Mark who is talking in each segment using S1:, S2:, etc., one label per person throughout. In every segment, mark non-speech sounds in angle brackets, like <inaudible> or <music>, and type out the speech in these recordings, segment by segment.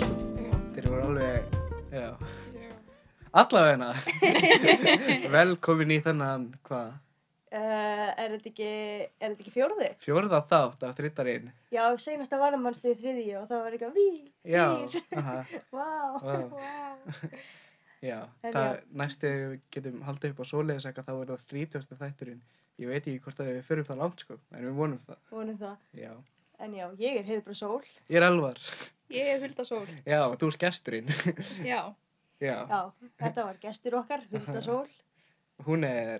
S1: sko. Já. Allavegna. Velkomin í þennan, hvað,
S2: Uh, er þetta ekki, er þetta ekki fjóruði?
S1: fjórða þátt af þrittarinn.
S2: Já, seinasta varum hans í þriðji og það var eitthvað ví,
S1: Já.
S2: vír,
S1: Aha,
S2: vá.
S1: wow.
S3: <laughs>
S1: Já.
S2: En
S1: Það
S2: já.
S1: næstu við getum haldið upp á svoleiðis eitthvað þá er það þrítjósta þætturinn. Ég veit ekki hvort að við förum það langt sko, en við vonum það.
S2: Vonum það.
S1: Já.
S2: En já, ég er heiðbra sól.
S1: Ég er alvar.
S3: Ég er Hulda Sól.
S1: Já, þú ert gesturinn. <laughs>
S3: Já.
S1: Já.
S2: Já, þetta var gestur okkar, Hulda Sól.
S1: Hún er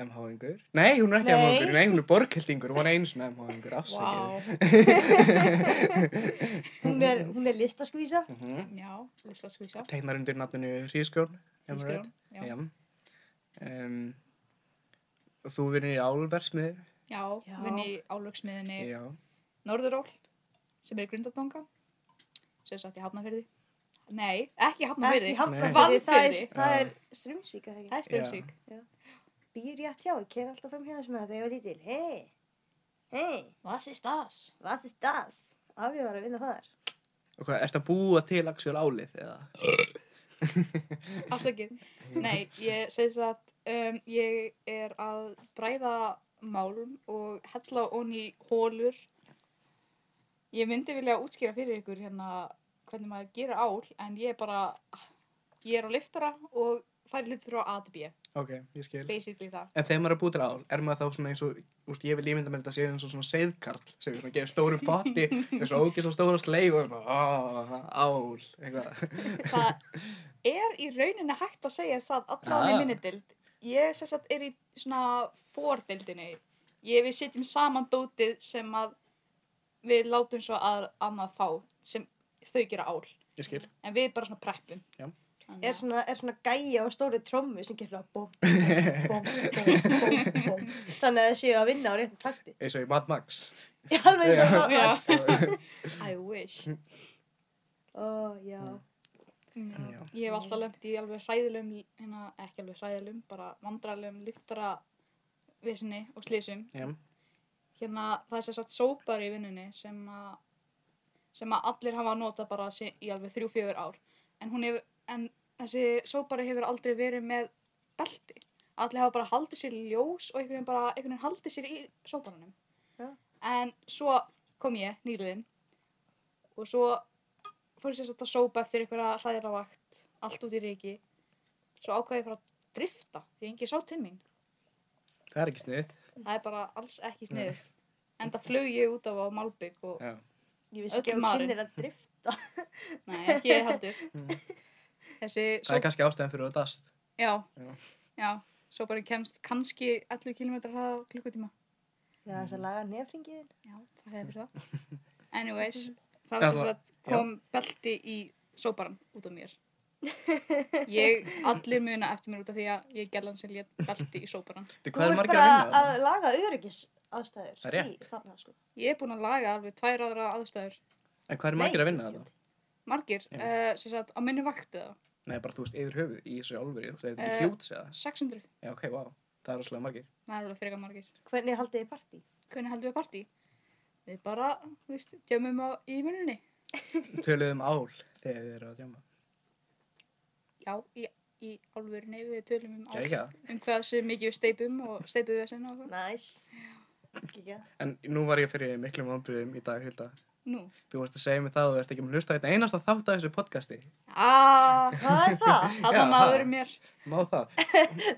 S1: MH-ingur. Nei, hún er ekki
S2: Nei.
S1: MH-ingur. Nei, hún er borghildingur. Hún er einu svona MH-ingur. Afsakið.
S3: Vá.
S2: Hún er, hún er listaskvísa.
S1: Wow.
S3: Já, Lisla Skvísa.
S1: Tegnar Mhm. undir nafninu Hrískjón. Hrískjón.
S3: Já.
S1: Já. Um, og þú vinnir í álversmiður.
S3: Já,
S2: Já.
S3: vinn í álöksmiðinni
S1: Já.
S3: Norðuról sem er í Grundartanga sem satt í Hafnafyrði. Nei, ekki Hafnafyrði.
S2: Ekki hafnafyrði,
S3: Valfirði.
S2: það er, það er strömsvík að það ekki.
S3: Það er Strömsvík.
S2: Býr rétt hjá, ég kem alltaf fram hjá þessum að það ég var lítil. Hei, hei,
S3: Hvað sést það?
S2: hvað er það? Afi var að vinna þar.
S1: Og hvað, ert að búa til Axel álið eða?
S3: Afsakið. Nei, ég segi satt, um, ég er að bræða málum og hella onni hólur. Ég myndi vilja útskýra fyrir ykkur hérna hvernig maður gerir ál, en ég er bara, ég er á liftara og færi hlutur á ATB,
S1: Ok, ég skil.
S3: basically það.
S1: En þegar maður er að búa til ál, er maður þá svona eins og, úst, ég vil ímynda mér þetta séu eins og svona seiðkarl sem er svona að gefa stórum
S3: <laughs>
S1: potti, eins og ógeð svo stóra sleif og svona, áh, ál, eitthvað.
S3: Það er í rauninni hægt að segja það allan
S1: Ah.
S3: í minni dild. Ég segi satt er í svona fordildinni. Ég við setjum saman dótið sem að við látum svo að annað fá sem þau gera ál.
S1: Ég skil.
S3: En við bara svona preppum.
S1: Já.
S3: Þannig
S2: Er
S3: að-
S2: svona, er svona gæja á stóri trommu sem gerir að bom,
S1: <laughs>
S2: bom, bom, bom, bom. Þannig að það séu að vinna á réttum takti. <laughs>
S1: Eins og í Mad Max.
S2: Ég er alveg svo að
S3: Já.
S2: það. <laughs>
S3: I wish.
S1: Mm.
S2: Ó, já.
S3: Já.
S1: Já.
S3: Ég hef alltaf lengt í alveg hræðilegum, hérna, ekki alveg hræðilegum, bara vandralegum liftara vissinni og slísum.
S1: Já.
S3: Hérna, það er sér satt sópar í vinnunni sem að, sem að allir hafa notað bara sé- í alveg þrjú, fjögur ár. En hún hefur, en þessi sópari hefur aldrei verið með belti. Allir hafa bara haldið sér í ljós og einhvern veginn bara, einhvern veginn haldið sér í sóparanum.
S2: Já.
S3: En svo kom ég, nýliðin, og svo fór ég sérst að sópa eftir einhverja hræðiravakt, allt út í reiki. Svo ákvaði ég bara að drifta, því engi sá til mín.
S1: Það er ekki sniðið.
S3: Það er bara alls ekki sniðugt. Enda flög ég út af á Malbygg og,
S1: Já.
S2: Ég vissi ekki
S3: Öll
S2: að
S3: marin.
S2: kynir að drifta.
S3: nei, ekki ég heldur.
S1: <laughs>
S3: Þessi,
S1: Mm. Það
S3: sóp,
S1: er kannski ástæðan fyrir að dast.
S3: já,
S1: Já.
S3: já, sóparinn kemst kannski 11 km hraða á klukkutíma.
S2: Það er þess að laga nefringið.
S3: Já, það hefur það.
S1: <laughs>
S3: Anyways,
S1: Já,
S3: það var sem
S1: það-
S3: sagt kom belti í sóparan út
S1: <laughs>
S3: af mér. Ég, allir muna eftir mér út af því að ég gerðan sem létt belti í sóparan.
S1: Þú,
S2: Þú
S1: hvað er
S2: ert
S1: margir
S2: bara
S1: að vinna það?
S2: að laga öryggis aðstæður.
S1: Það er rétt.
S2: Þannig að sko.
S3: Ég er búin að laga alveg tvær aðra aðstæður.
S1: En hvað er margir að vinna það?
S3: Margir,
S1: Já.
S3: uh, sem sagt, á minni vakti það.
S1: Nei, bara þú veist, yfir höfuð í þessu álveri, þú veist, er þetta
S3: Eh.
S1: ekki fjúts eða?
S3: 600,
S1: Já, ok, vá, það er rosalega margir.
S3: það er alveg frekar margir.
S2: Hvernig haldið þið partí?
S3: Hvernig heldum við partí? Við bara, þú veist, djömmum á í mununni.
S1: Töluðum um ál þegar þið eru að djáma.
S3: Já, í, í álfurinni við tölum um ál.
S1: Gækja.
S3: Um hvað sem mikið við steipum og steipum við og það.
S2: Næs. Kíkja.
S1: En nú var ég fyrir miklum ámbriðum í dag, Hilda.
S3: Nú.
S1: Þú varst að segja mig það og þú ert ekki með hlusta á þetta einasta þátt af þessu podcasti.
S3: Ah,
S2: Hvað er
S1: <laughs>
S2: það?
S3: Þarna
S1: Já,
S3: náður
S1: það.
S3: mér.
S1: Má það?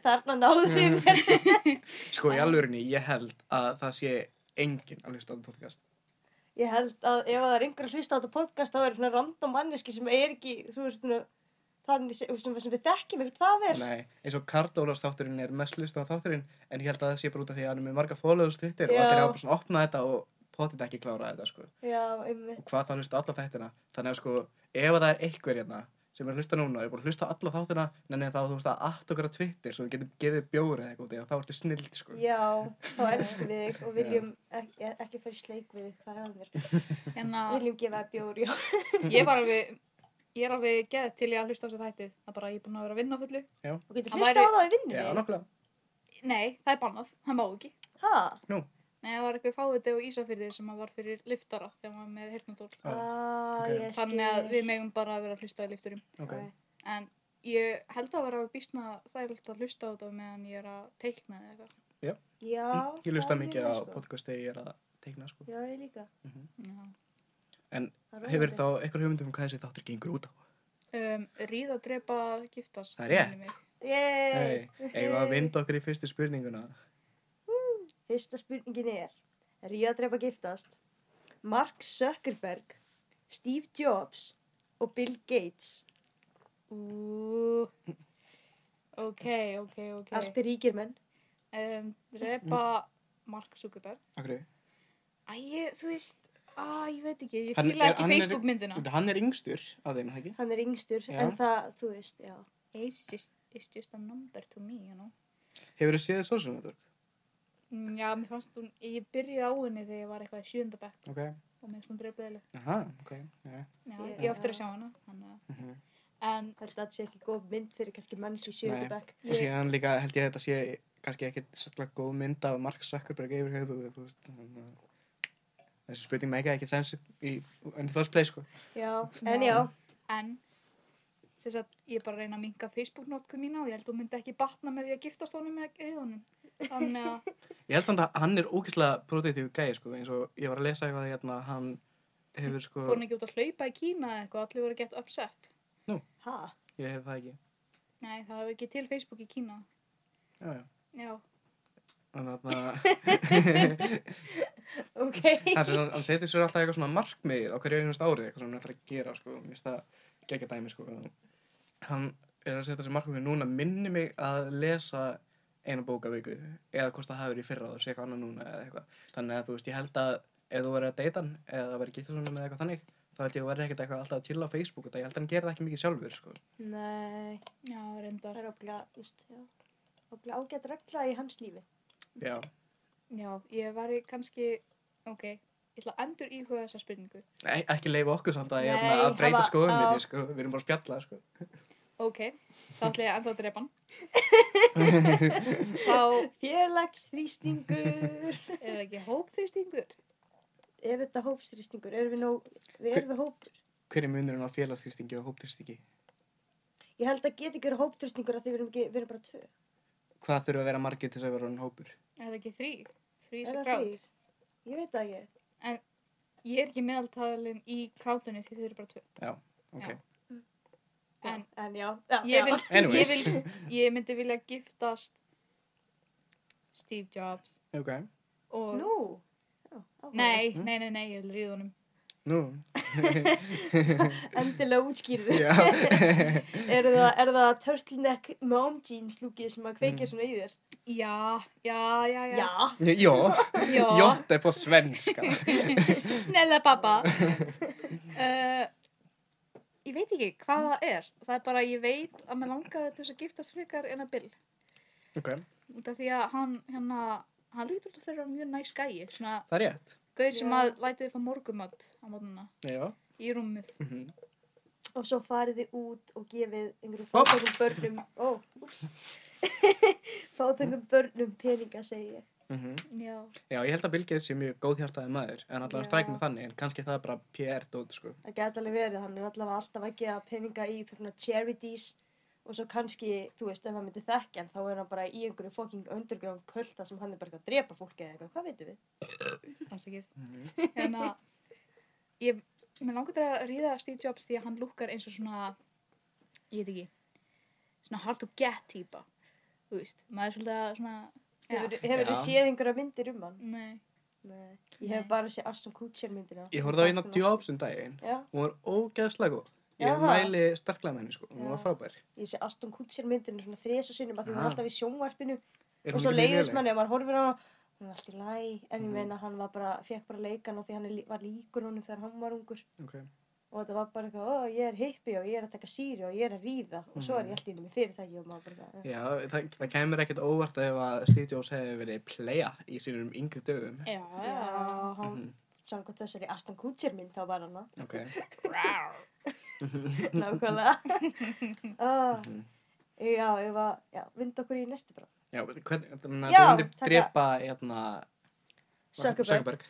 S2: Þarna náður ég mér.
S1: Sko, í alvörinni, ég held að það sé enginn að hlusta á þetta podcast.
S2: Ég held að ef það er einhver að hlusta á þetta podcast þá er svona random manneski sem er ekki, þú veist, svona, þannig sem, sem, sem við þekkjum ekkert það vel.
S1: Nei, eins og Karl Ólafs þátturinn er mest hlusta á þátturinn, en ég held að það sé bara út af því að hann er með marga followers Twitter og
S2: Já.
S1: allir hafa bara svona opnað þetta og potið ekki klára þetta, sko.
S2: Já, einmitt.
S1: og hvað það hlusta á alla þættina þannig að sko, ef að það er einhver hérna sem er að hlusta núna og er búin að hlusta á alla þáttina en þá þú veist að allt okkur á Twitter svo þú getur gefið bjóri eða eitthvað út í og þá ertu snild sko.
S2: Já, þá elskum við þig og viljum ekki, ekki fara í sleik við þig, hvað er að mér?
S3: Hérna,
S2: Viljum gefa þig bjór, já.
S3: ég var alveg, ég er alveg geðið til ég að hlusta á þessu þætti. Það er bara, ég er búin að vera að vinna á fullu.
S2: Þú getur
S3: Hann
S2: hlusta
S3: væri-
S2: á það í vinnu.
S1: Já, nokkulega.
S3: Nei, það er bannað. Það má ekki.
S2: Ha?
S3: Nei, það var eitthvað fáviti og ísafyrði sem að var fyrir liftara þegar maður var með hirtnadól.
S1: Já,
S2: Ah,
S1: ok.
S2: ég skil.
S3: Þannig að við megum bara að vera að hlusta á lifturum.
S1: ok.
S2: Æ,
S3: En ég held að vera að býstna þægilegt að hlusta á þetta meðan ég er að teikna eða eitthvað.
S2: Já,
S1: Ég lusta
S2: það er
S1: mikið á
S2: mjög sko.
S1: podcast þegar ég er að teikna sko.
S2: Já, ég líka.
S3: Já.
S1: En
S2: Það er
S1: hefur
S2: róandi.
S1: þá eitthvað hugmyndum um hvað þessi þáttur gengur út á?
S3: Um, ríða, drepa, giftast.
S1: Það er rétt.
S3: minnir mig.
S2: Yay!
S1: Nei, eigum við að vinda okkur í fyrstu spurninguna.
S2: Fyrsta spurningin er, er ég að drepa giftast? Mark Zuckerberg, Steve Jobs og Bill Gates.
S3: Ú, ok, ok, ok.
S2: Allt er ríkir menn.
S3: Um, drepa Mark Zuckerberg.
S1: Akkur,
S3: Æ, ég, þú veist, að, ég veit ekki, ég
S1: Hann
S3: fíla
S1: er-
S3: ekki
S1: hann er-
S3: Facebook myndina.
S1: hann er yngstur af þeim, er það ekki?
S2: Hann er yngstur,
S1: Já.
S2: en það, þú veist, já.
S3: It's just, it's just a number to me, you know.
S1: Hefur þú séð Social Network?
S3: Mm, Já, mér fannst hún, ég byrjaði á henni þegar ég var eitthvað í sjöunda bekk
S1: Ok.
S3: og mér fannst hún drepaðileg.
S1: Aha, ok. Yeah.
S3: Já,
S2: Ég-
S3: ég á eftir að sjá hana. Þannig. að-
S1: Mhm.
S3: En
S2: Held að það sé ekki góð mynd fyrir kannski manns í
S1: Nei.
S2: sjöðu bekk.
S1: Og síðan líka held ég að þetta sé kannski ekki svolítið góð mynd af Mark Zuckerberg yfir höfuðu, þú veist. þannig að Þessi spurning með ekki ekkert sens í enn þess play, sko.
S2: Já,
S3: Já.
S2: en já,
S3: En sem sagt, ég er bara að reyna að minga Facebook-notku mína og ég held að hún myndi ekki batna með því að giftast honum með reyðunum. Þannig að,
S1: Ég held samt að hann er ógeðslega produktíf gæði, sko, eins og ég var að lesa eitthvað hérna, hann hefur, sko,
S3: fór hann ekki út að hlaupa í Kína eða eitthvað, allir voru gett uppsett.
S2: ha,
S1: ég hef það ekki.
S3: Nei, það er ekki til Facebook í Kína.
S1: Já, já.
S3: Já,
S1: Þannig að <laughs>
S2: ok.
S1: hann,
S2: <laughs>
S1: sem- hann setur sér alltaf eitthvað svona markmið á hverju einhverjast árið, eitthvað sem hann ætlar að gera, sko, mér finnst það geggja dæmi, sko. Hann er að setja sér markmið núna, minni mig að lesa eina bóka viku, eða hvort það hafi verið í fyrra og sé eitthvað annað núna eða eitthvað. Þannig að þú veist, ég held að ef þú verið að deyta hann, eða það verið gitt svona með eitthvað þannig, þá held ég að verið ekkert eitthvað alltaf að chilla á Facebook, þetta ég held að hann gera það ekki mikið sjálfur, sko.
S2: Nei,
S3: já,
S2: það
S3: reyndar.
S2: er ógla, úst, já, ógla ágætt regla í hans lífi.
S1: Já,
S3: Já, ég var í kannski, ok, ég ætla að endur íhuga þessa spurningu.
S1: e ekki leifa okkur samt að,
S2: Nei,
S1: hérna, að breyta
S2: hafa-
S1: skoðuninni,
S3: á.
S1: sko, við erum bara að spjalla, sko.
S3: Ok, þá ætla ég að enda að drepa hann. þá
S2: Félagsþrýstingur.
S3: er það ekki hópþrýstingur.
S2: er þetta hópsþrýstingur? Erum við nóg, við erum við hóp...
S1: Hver er munurinn á félagsþrýstingi og hópþrýstingi?
S2: Ég held að geta ekki verið hópþrýstingur af því við erum, ekki, við erum bara tvö.
S1: Hvað þurfa að vera margir til þess að vera hann hópur?
S3: Er það ekki þrý? Þrý
S2: Er
S3: sem
S2: það
S3: grátt.
S2: þrír? Ég veit það ekki.
S3: Ég er ekki meðaltalin í krátunni því þið eru bara tvö.
S1: Já, ok.
S3: Já.
S2: Já,
S3: En
S2: en já, já,
S3: ég, vil,
S2: já.
S3: ég,
S1: Anyways.
S3: vil, ég myndi vilja giftast Steve Jobs
S1: Ok.
S3: og...
S2: Nú. Já, áhugavert.
S3: Nei, nei, nei, nei, ég vil ríða honum.
S1: Nú. <laughs>
S2: Endilega útskýrðu.
S1: Já.
S2: er, það, er það turtleneck mom jeans lúkið sem að kveikja svona í þér?
S3: Já, já, já, já.
S2: Já.
S1: Jó.
S3: Já.
S1: Jótt er på svenska.
S3: Snella
S2: <laughs>
S3: pappa. uh, ég veit ekki hvað það er. Það er bara, ég veit að mér langaði til þess að giftast frekar en að Bill.
S1: Ok.
S3: Út af því að hann, hérna, hann lítur út að þeirra mjög næs gæi. Svona,
S1: Það er rétt.
S3: gauður sem
S2: Já.
S3: að lætið fá morgumat á mótnuna
S1: Já.
S3: í rúmið.
S1: Mhm.
S2: Og svo farið þið út og gefið einhverjum fátækum börnum, ó, úps, <laughs> fátækum börnum peninga segi ég.
S1: Mhm.
S3: Já.
S1: Já, ég held að Bill Gates sé mjög góð hjartaði maður, en allavega
S2: Já.
S1: stræk með þannig, en kannski það er bara PR-dót, sko.
S2: Það geta alveg verið, hann er allavega alltaf að gefa peninga í svona charities og svo kannski, þú veist, ef hann myndi þekkja hann, þá er hann bara í einhverju fucking underground kulda sem hann er bara eitthvað að drepa fólki eða eitthvað, hvað veitum við?
S3: afsakið en að ég, mér langar til að ríða Steve Jobs því að hann lukkar eins og svona ég veit ekki svona hard to get típa þú veist, maður er svolítið svona
S2: Hefur,
S3: já,
S2: hefur
S1: Já.
S2: séð einhverja myndir um hann?
S3: nei,
S2: Nei. Ég hef
S3: Nei.
S2: bara séð Aston Kutcher myndina.
S1: Ég horfði á eina Jobs um daginn.
S2: Já,
S1: Hún var ógeðslega góð. Ég
S2: Já, það.
S1: mæli sterklega með henni, sko. Hún
S2: Já.
S1: var frábær.
S2: ég sé Aston Kutcher myndinu svona þresa sinnum að því hún
S1: Ah.
S2: er alltaf í sjónvarpinu
S1: Er hún
S2: og svo
S1: ekki mjög
S2: leiðist
S1: léleg?
S2: manni og maður horfir á hana hún er alltaf í læ en ég
S1: Mhm.
S2: meina hann var bara, fekk bara leikan og því hann er, lí- var líkur honum þegar hann var ungur
S1: Ok.
S2: og þetta var bara eitthvað, ó ég er hippi og ég er að taka síri og ég er að ríða og svo
S1: Mhm.
S2: er ég alltaf inni með fyrirtæki og maður bara eh.
S1: Já, það, það kemur ekkert óvart ef að Steve Jobs hefði verið playa í sínum yngri dögum.
S3: já,
S2: já,
S3: já
S2: hann
S1: Mhm.
S2: samkvæmt þessari Aston Kutcher mynd þá var hann
S3: <laughs>
S2: það
S1: Ok.
S2: nákvæmlega <laughs> oh.
S1: Mhm.
S2: já, ég var, já, vind okkur í næstu bara
S1: Já, hvern, þannig að
S2: Já,
S1: þú myndir
S2: taka-
S1: drepa hérna,
S2: Sökkuberg,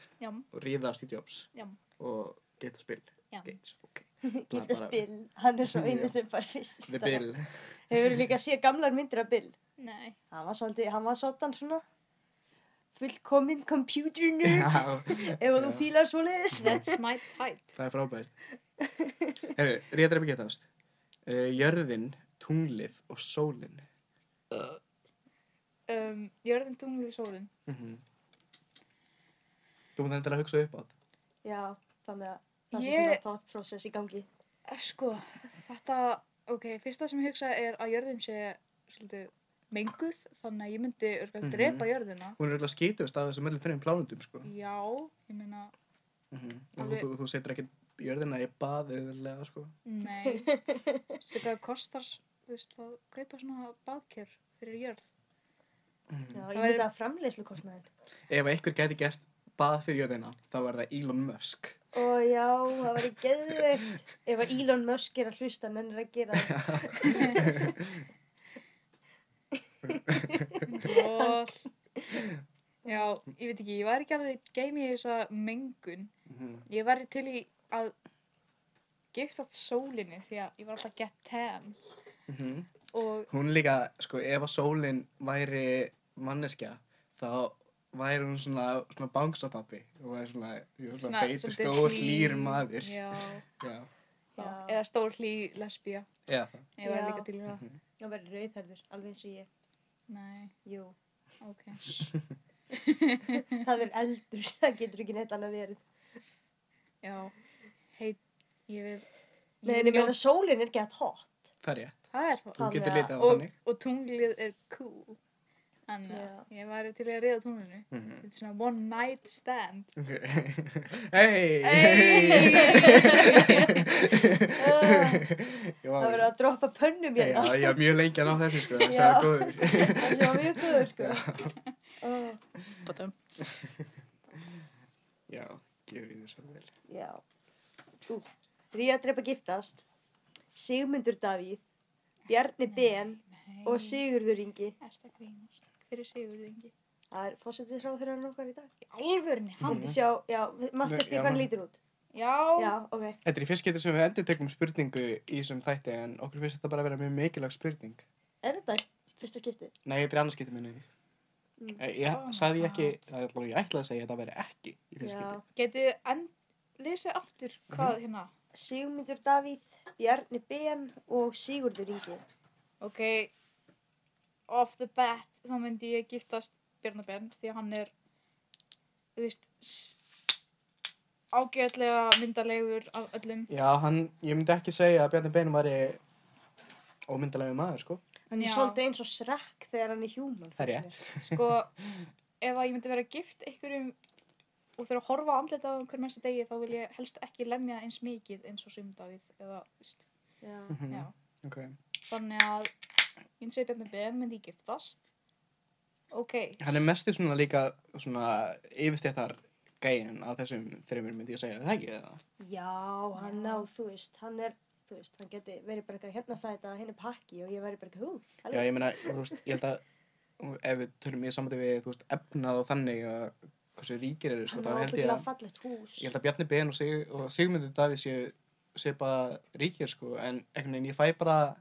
S1: og ríða Steve Jobs
S3: já,
S1: og geta spil.
S3: já.
S1: Gates, ok. bara-
S2: giftast Bill, hann er svo
S1: Já.
S2: einu sem bara fyrst
S1: The
S2: <laughs>
S1: Bill.
S2: hefur líka séð gamlar myndir af Bill
S3: Nei.
S2: hann var svolítið, hann var svolítan svona fullkominn computer nerd
S1: Já,
S2: ef þú
S1: Já.
S2: fílar svo leiðis
S3: That's my type.
S1: það er
S2: <laughs>
S1: frábært. Herru, rétt er að byggja þannast. Uh, jörðin, tunglið og sólin.
S3: Um, jörðin, tunglið, sólin.
S1: Mm Þú mútt endur að hugsa upp á það.
S2: já, þannig að það sé
S3: Ég-
S2: svona thought process í gangi
S3: Eh, Sko, þetta, ok, fyrsta sem ég hugsa er að jörðin sé svolítið menguð, þannig að ég myndi örgulega
S1: Mhm.
S3: drepa jörðina.
S1: Hún er auðvitað skítust af þessum öllum þreim plánundum, sko.
S2: Mm.
S3: Já, ég meina,
S1: Mm og þú,
S3: Alveg.
S1: þú, þú setur ekki jörðina í bað auðvitað, sko.
S2: <laughs>
S3: nei. Þú veist hvað það kostar, þú veist, að kaupa svona baðkjör fyrir jörð.
S2: já,
S1: Mm.
S2: ég
S3: væri-
S2: myndi að framleiðslu kostnaðin
S1: Ef einhver gæti gert bað fyrir jörðina, þá er það Elon Musk.
S2: og já, það var í geðveikt ef að Elon Musk er að hlusta hann er að gera það
S1: <laughs>
S3: Lol. <laughs> Já, ég veit ekki, ég var ekki alveg geim í þessa mengun.
S1: Mm -hmm.
S3: Ég væri til í að giftast sólinni því að ég var alltaf get tan og
S1: Mhm. Hún líka, sko, ef að sólin væri manneskja, þá væri hún svona, svona bangsapappi og væri svona, svona, svona feitur,
S3: svolítið
S1: stór,
S3: hlý-
S1: hlýr maður.
S3: Já,
S1: Já,
S3: já.
S2: Já.
S3: eða stór hlý lesbía.
S1: eða það.
S3: Ég væri
S2: Já.
S3: líka til í það.
S1: Mhm.
S2: það verður rauðherður, alveg eins og ég
S3: Nei,
S2: jú,
S3: ok.
S2: það verður eldur <laughs> það getur ekki neitt annað verið
S3: Já, heit, ég vil... ég
S2: Nei,
S3: vil
S2: en ég meina
S3: njóta-
S2: sólin er
S1: <laughs>
S2: gett hot.
S1: Það er rétt.
S3: Það er
S1: Þú
S3: það.
S2: Þannig
S1: getur
S2: að-
S1: litið á
S3: Og,
S1: þannig.
S3: og tunglið er cool. Þannig að ég væri til í að reyða tunglinu.
S1: Mhm.
S3: Þetta er svona one night stand.
S1: Hei! <laughs>
S2: Uh, <laughs> það verður
S1: Það
S2: að droppa pönnum
S1: Já,
S2: hérna.
S1: ég var mjög lengi að ná þessu sko, þessi
S2: Já.
S1: var góður. <laughs>
S2: Það sé var mjög góður, sko. Uh,
S3: Bátum.
S1: Já, gefur í þessu vel.
S2: já. Ú, Ríða drepa giftast. Sigmundur Davíð. Bjarni Ben og Sigurður Ingi.
S3: Erst að grínast. Hver er Sigurður Ingi?
S2: Það er fórsetið frá þeirra okkar í dag.
S3: Í alvörni, hann.
S2: Vildi sjá, já, mást
S1: Nei,
S2: eftir
S1: já,
S2: hvað hann
S1: hann-
S2: lítur út. Mm. Já,
S3: Já.
S2: ok.
S1: Þetta er í fyrst getið sem við endur tekum spurningu í þessum þætti en okkur finnst þetta bara að vera mjög mikilvæg spurning.
S2: Er þetta fyrsta skiptið?
S1: Nei, þetta er annars getið minni.
S2: Mm.
S1: Eh, Ég, ég
S3: Oh
S1: sagði
S3: my
S1: ég ekki,
S3: God.
S1: það er alveg ég ætlaði að segja að þetta veri ekki í fyrst
S2: Já.
S1: getið.
S3: Getið þið enn... Lesið aftur
S2: Mhm.
S3: hvað hérna.
S2: Sigmundur Davíð, Bjarni Ben og Sigurður Ingi.
S3: Ok. Off the bat, þá myndi ég giftast Bjarnabjörn því að hann er, þú veist, s- ágætlega myndalegur af öllum.
S1: Já, hann, ég myndi ekki segja að Bjarni Bein var ómyndalegu maður sko.
S2: Hann er
S3: Já.
S2: svolítið eins og srekk þegar hann er human.
S1: Það er
S2: finnst mér.
S1: rétt.
S3: Sko, ef að ég myndi vera gift einhverjum og þurfa að horfa andlita á einhverjum mesta degi þá vil ég helst ekki lemja eins mikið eins og sumdavið eða, þú veist,
S2: Já.
S1: Mhm,
S3: Mm, já.
S1: Ok.
S3: Þannig að ég myndi segja Bjarni Ben myndi ég giftast. Ok,
S1: Hann er mestir svona líka svona yfirstéttar gæin af þessum þreymur myndi ég segja er það ekki eða?
S2: Já, hann
S3: Já.
S2: á, þú veist, hann er, þú veist, hann geti verið bara eitthvað hérna sæta að henni pakki og ég verið bara eitthvað, hú,
S1: Já,
S2: alveg.
S1: ég meina, þú veist, ég held að ef við tölum í samandi við, þú veist, efnað og þannig að hversu ríkir eru, sko, þá
S2: Hann á
S1: held ég
S2: ábygglega
S1: að
S2: fallegt hús.
S1: ég held að Bjarni Ben og, Sig, og Sigmundur Davíð séu séu bara ríkir, sko, en einhvern veginn ég fæ bara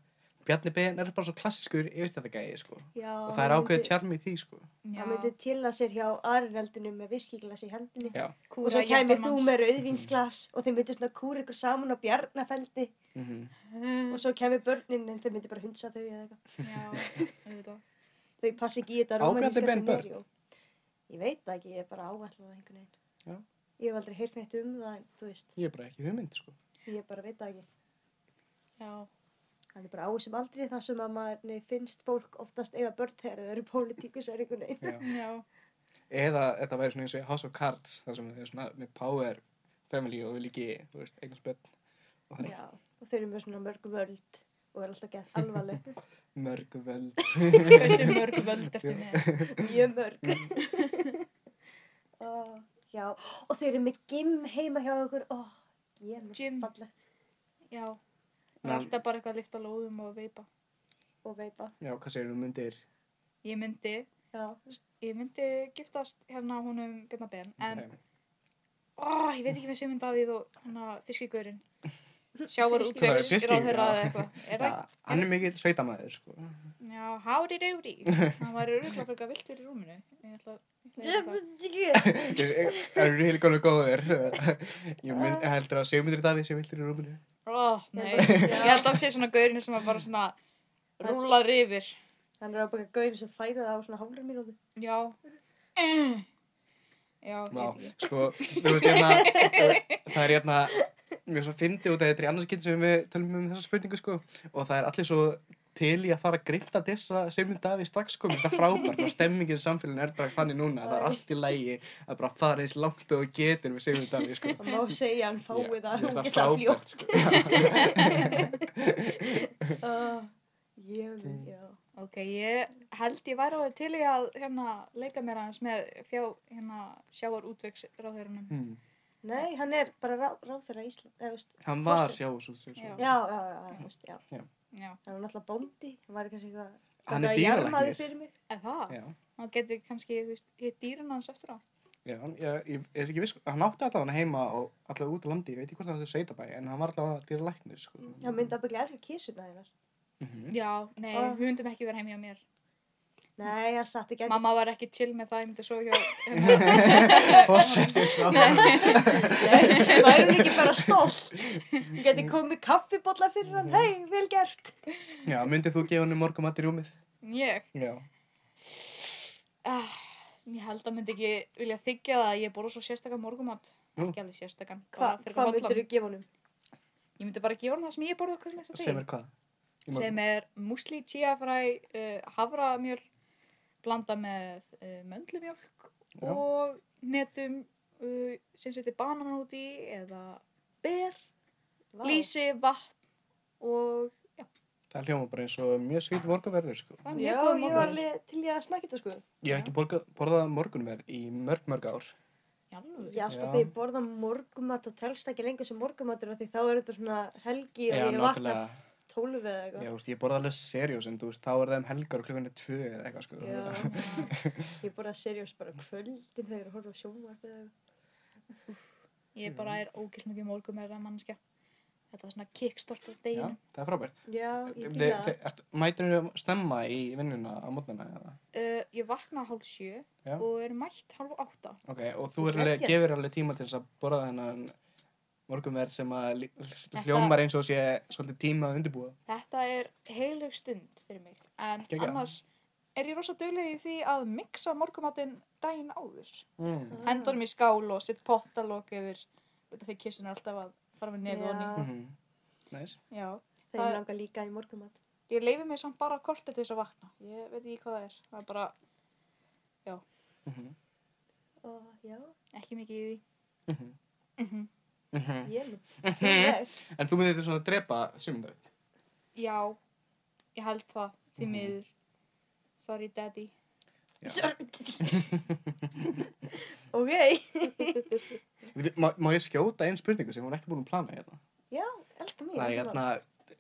S1: Bjarni Ben er bara svo klassískur yfirstæðagæði, sko
S2: Já,
S1: og það er ákveðið tjarm í því, sko
S3: já,
S2: Hann myndi til að sér hjá arinveldinu með viskiglas í hendinu.
S1: Já,
S3: kúra
S2: Og svo kæmi þú
S3: jeppanans.
S2: með rauðvinsglas og þeir myndi svona kúra ykkur saman á bjarnafeldi
S1: mm
S2: og svo kæmi börnin en þau myndi bara hundsa þau eða eitthvað.
S3: Já, auðvitað.
S2: Þau passi ekki í
S1: Á
S2: þetta
S1: Bjarni
S2: romantíska
S1: Ben börn?
S2: scenario. Ég veit það ekki, ég er bara áætlað það einhvern veginn.
S1: Já.
S2: Ég hef aldrei heyrt neitt um það en þú veist,
S1: ég er bara ekki hugmynd, sko
S2: ég bara veit það ekki.
S3: Já,
S2: Það er bara á þessum aldrei það sem að maður nei, finnst fólk oftast eiga börn þegar þau eru pólitíkusar einhvern veginn.
S1: Já.
S3: já,
S1: eða þetta væri svona eins og í House of Cards þar sem þau er svona með power family og vil ekki, þú veist, eignast börn og það er
S2: Já, og þau eru með svona mörg völd og er alltaf gett alvarleg.
S1: mörg völd
S3: hversu mörg völd ertu með?
S2: Mjög mörg. <laughs> oh, já, og þau eru með gym heima hjá okkur. Ó, oh, gym.
S3: Gym.
S2: Fallegt
S3: Já, það er
S1: Nei.
S3: alltaf bara eitthvað að lifta lóðum og veipa.
S2: og veipa.
S1: Já, hvað segir þú myndir?
S3: Ég myndi,
S2: Já,
S3: ég myndi giftast hérna honum Bjarnar Ben, en,
S1: Nei. <laughs>
S3: Ah, ó, ég veit ekki með Sigmund Davíð og hérna fiskigurinn. sjávar
S1: Það er fiskigýr,
S3: útvegsráðherra
S1: já.
S3: eða eitthvað er það,
S1: Já, hann er mikill sveitamæður sko. <laughs>
S3: já, howdy doody hann var öruglega fyrir viltur í rúminu ég ætla að ég
S1: <laughs>
S3: ætla að-
S1: Það eru really gonna go there <laughs> Ég mynd,
S3: Ah.
S1: heldur að segmyndir í Davíð sé viltur í rúminu
S3: Ó, Ah, nei. ég held að sé svona gaurinu sem að bara svona rúlar yfir
S2: Hann er á baka gauðin sem færi það á svona hálfur mínúti.
S3: já <clears throat> Eh. já,
S1: Má,
S3: ég, ég,
S1: sko, þú veist, hérna, það er hérna, mjög svo fyndi út að þetta er í annars getur sem við tölum um þessa spurningu, sko, og það er allir svo til í að fara að grimta þessa Sigmund Davíð strax, sko, mér finnst það frábært og stemmingin í samfélaginu er bara þannig núna, það er allt í lægi að bara fara eins langt og þú getur með Sigmund Davíð, sko.
S2: Það má segja hann
S1: Já,
S2: fái það.
S1: mér
S2: Hún
S1: finnst
S2: geta að fljótt.
S1: sko.
S2: Ah, Ég, já.
S3: ok, ég held ég væri á það til í að hérna leika mér aðeins með fjá hérna sjávar útvegsráðherranum
S1: Já.
S2: Mm.
S1: Hmm.
S2: Nei, hann er bara rá, ráþæra Ísland, eða, veist,
S1: Hann var
S2: Forseti.
S1: sjávarsúl, sko.
S3: Já.
S2: já, já, já, já, veist, já.
S3: já,
S2: Hann var náttúrulega bóndi, hann var kannski eitthvað,
S1: Hann er
S2: eitthvað jarmaður
S1: dýralæknir.
S2: fyrir mig.
S3: en það
S1: Já.
S3: þá getum við kannski, þú veist, hitt dýrun hans eftir á
S1: Já, hann- ég, ég er ekki viss, hann átti alltaf hann heima og alltaf út á landi, ég veit ekki hvort hann átti sveitabæ, en hann var alltaf dýra sko.
S2: Hann myndi að byggja elska kísuna hennar.
S1: Mhm.
S3: Já, nei,
S2: Ah.
S3: við myndum ekki vera heim hjá mér.
S2: Nei, hann satt ekki
S3: Mamma var ekki chill með það, ég myndi svo
S2: <laughs>
S3: hjá hérna.
S1: Fórsetis
S2: Nei, væri hún ekki bara stolt. Ég geti komið með kaffibotla fyrir hann, hei, vel gert.
S1: Já, myndið þú gefa henni morgumat í rúmið?
S3: Ég,
S1: Já
S3: ah, ég held að myndi ekki vilja þykja það að ég borða svo sérstakann morgumat.
S1: Nú.
S3: Ekki alveg sérstakann.
S2: Hva, hvað myndir þú gefa honum?
S3: Ég myndi bara gefa hann það sem ég borða okkur með þess að
S1: Sem er hvað? Í morgun-
S3: Sem er musli, tíafræ, uh, haframjöl, blanda með uh, möndlumjólk
S1: Já.
S3: og netum uh, sem seti banan út í eða ber,
S2: Vá.
S3: lýsi, vatn og
S1: Það hljóma bara eins og mjög svít morgunverður sko
S3: það er
S2: Já,
S3: mjög góð
S2: ég var alveg til ég að smakka þetta sko.
S1: Ég hef ekki borgað, borðað morgunverð í mörg mörg ár
S3: morgun.
S2: Ég alltaf
S1: Já.
S2: sko, þegar ég borða morgumat og telst ekki lengur sem morgumatur af því þá er þetta svona helgi og
S1: Já,
S2: ég vakna sko.
S1: nákvæmlega
S2: tólf eða eitthvað.
S1: Já, þú veist, ég borða alveg seriós en þú veist, þá er það um helgar og klukkan er tvö eða eitthvað sko
S2: Já, ég borða seriós bara á kvöldin þegar ég er að horfa á sjónvarp eða eitthvað.
S3: Ég bara er ógilt mikið um morgum með það mannskja. Þetta er svona kickstart á
S1: Já,
S3: deginu.
S1: það er frábært
S2: Já, ég fíla það.
S1: Mætur þú snemma í vinnuna á mótnana eða?
S3: Uh, ég vakna hálf sjö
S1: Já.
S3: og er mætt hálf átta.
S1: Ok, og
S2: Þú
S1: þú er alveg,
S2: sleggjar.
S1: gefur alveg tíma til þess að borða þennan morgunverð sem að lí- hljómar eins og sé svolítið tíma að undirbúa
S3: Þetta er heilug stund fyrir mig. En
S1: Geggjað.
S3: annars er ég rosa dugleg í því að mixa morgumatinn daginn áður.
S1: mm.
S2: Ah.
S3: Hendur í skál og sitt pottalok yfir út af því kissin er alltaf að fara með nefið
S2: Já.
S3: og ný.
S1: mm. Nice
S3: Já.
S2: Þegar
S3: Það-
S2: ég langar líka í morgumat.
S3: Ég leifi mig samt bara kortið til þess að vakna. Ég veit ekki hvað það er. Það er bara
S1: Mhm.
S2: Og já,
S3: ekki mikið í því.
S1: Mhm.
S3: Mm
S1: Mhm.
S2: ég mun. Ég-
S1: En þú myndir þetta svona að drepa sumundag?
S3: Já, ég held það, því
S1: Mhm.
S3: miður. Sorry
S2: <laughs>
S3: daddy.
S1: <laughs>
S2: Ok,
S1: Má, má ég skjóta einn spurningu sem hún er ekki búin að plana hérna?
S2: já, elskar mig.
S1: Það er hérna,